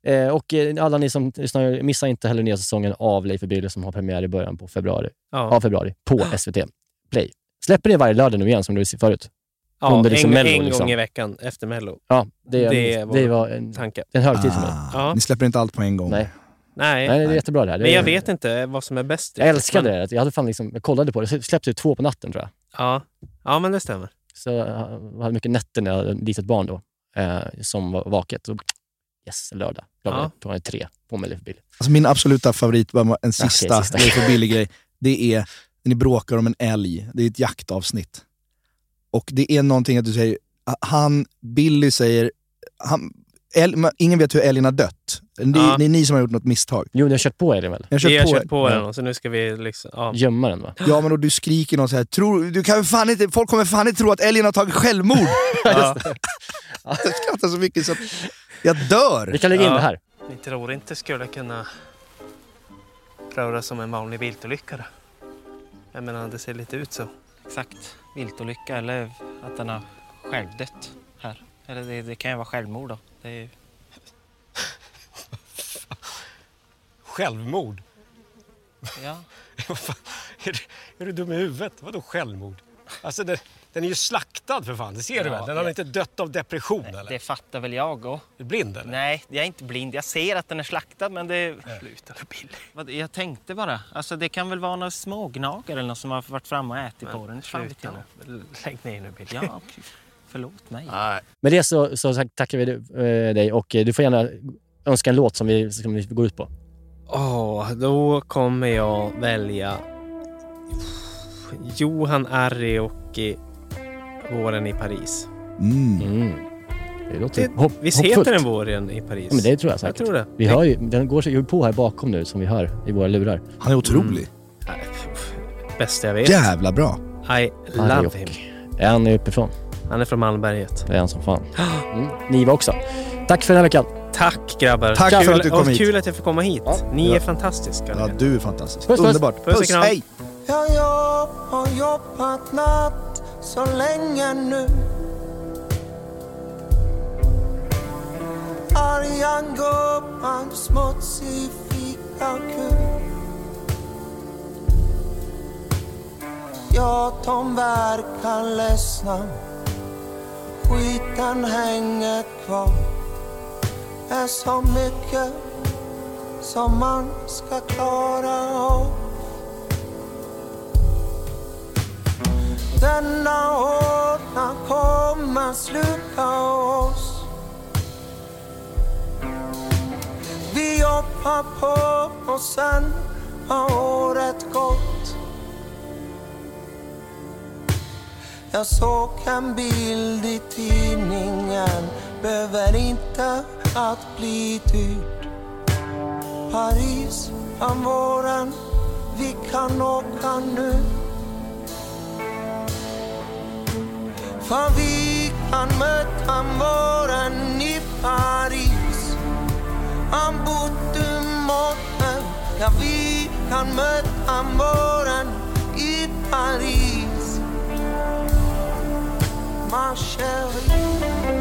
Eh, och eh, alla ni som lyssnar, missa inte heller nya säsongen av Leif och Birre som har premiär i början på februari, Ja. av februari på SVT Play. Släpper det varje lördag nu igen, som du sa förut. Ja, Under liksom en, Mello, en liksom. Mm. gång i veckan efter Mello. Ja, det, Det det, är det vår var en, tanke. en högtid för mig. Ah, Ja. Ni släpper inte allt på en gång. Nej. Nej, Nej, det är jättebra det här. Det men jag är- vet inte vad som är bäst. Jag älskade Men- det. Jag, hade fan liksom, jag kollade på det. Det släpptes ju två på natten tror jag. Ja. ja, men det stämmer. Så jag hade mycket nätter när jag hade ett litet barn då, eh, som var vaket. Och, yes, lördag. Klockan Ja. klockan är tre. På med Leif Bill. Alltså min absoluta favorit, bara en sista, sista. det är för billig <laughs> grej, det är när ni bråkar om en älg. Det är ett jaktavsnitt. Och det är någonting att du säger, ah, han, Billy säger, han, älg, men ingen vet hur älgen har dött. Ni, Ja. Det är ni som har gjort något misstag. Jo, ni har kört på älgen väl? Jag har Vi kört har på, kört på Ja. den och så nu ska vi liksom... Ja. Gömma den va? Ja men och du skriker någon så här, tror, du kan ju fan inte, folk kommer fan inte tro att älgen har <laughs> tagit självmord. Ja. Jag skrattar så mycket så att jag dör. Vi kan lägga in Ja. det här. Ni tror inte skulle kunna röra som en vanlig viltolyckare? Jag menar, det ser lite ut så. Exakt. Viltolycka eller att den har självdött här. Eller det, det kan ju vara självmord då. Det är ju... Självmord? Ja. <laughs> Vad fan, är, du, är du dum i huvudet? Vadå självmord? Alltså den, den är ju slaktad för fan, det ser du Ja, väl? Den har det- inte dött av depression eller? Det fattar väl jag och. Är du blind eller? Nej, jag är inte blind. Jag ser att den är slaktad men det... Sluta nu Billy. Vad, jag tänkte bara. Alltså det kan väl vara några smågnagare eller något som har varit framme och ätit på den. Fan vet jag. Sluta nu. Lägg ner nu, Bill. Ja, okej. förlåt mig. Med det så, så tack- tackar vi eh, dig och eh, du får gärna önska en låt som vi, som vi går ut på. Åh, då kommer jag välja Johan Arioki, Våren i Paris. Mm. Det låter Det, hopp, visst hoppfullt. heter den Våren i Paris? Ja, men det tror jag säkert. Jag tror det. Vi hör ju, den går sig ju på här bakom nu som vi hör i våra lurar. Han är otrolig. Mm. Nej, pff, Bästa jag vet. Jävla bra. I love him. Arioch. Är han uppifrån? Han är från Malmberget. Det är han som <gasps> fan. Mm. Ni var också. Tack för den här veckan. Tack grabbar. Tack kul, för att du kom och hit. Kul att jag fick komma hit. Ni Ja. är fantastiska. Ja, du är fantastisk. Puss, puss. Underbart. Puss och kram. Hej! Ja, jag har jobbat natt så länge nu Argan gumman, smutsig fikakuk Ja, de verkar ledsna Skiten hänger kvar Är så mycket som man ska klara av Denna ordna kommer sluka oss Vi jobbar på och sen har året gått Jag såg en bild i tidningen Behöver inte att bli dyrt Paris om våren Vi kan åka nu För vi kan möta våren i Paris Om bortom Ja, vi kan möta våren i Paris Ma chérie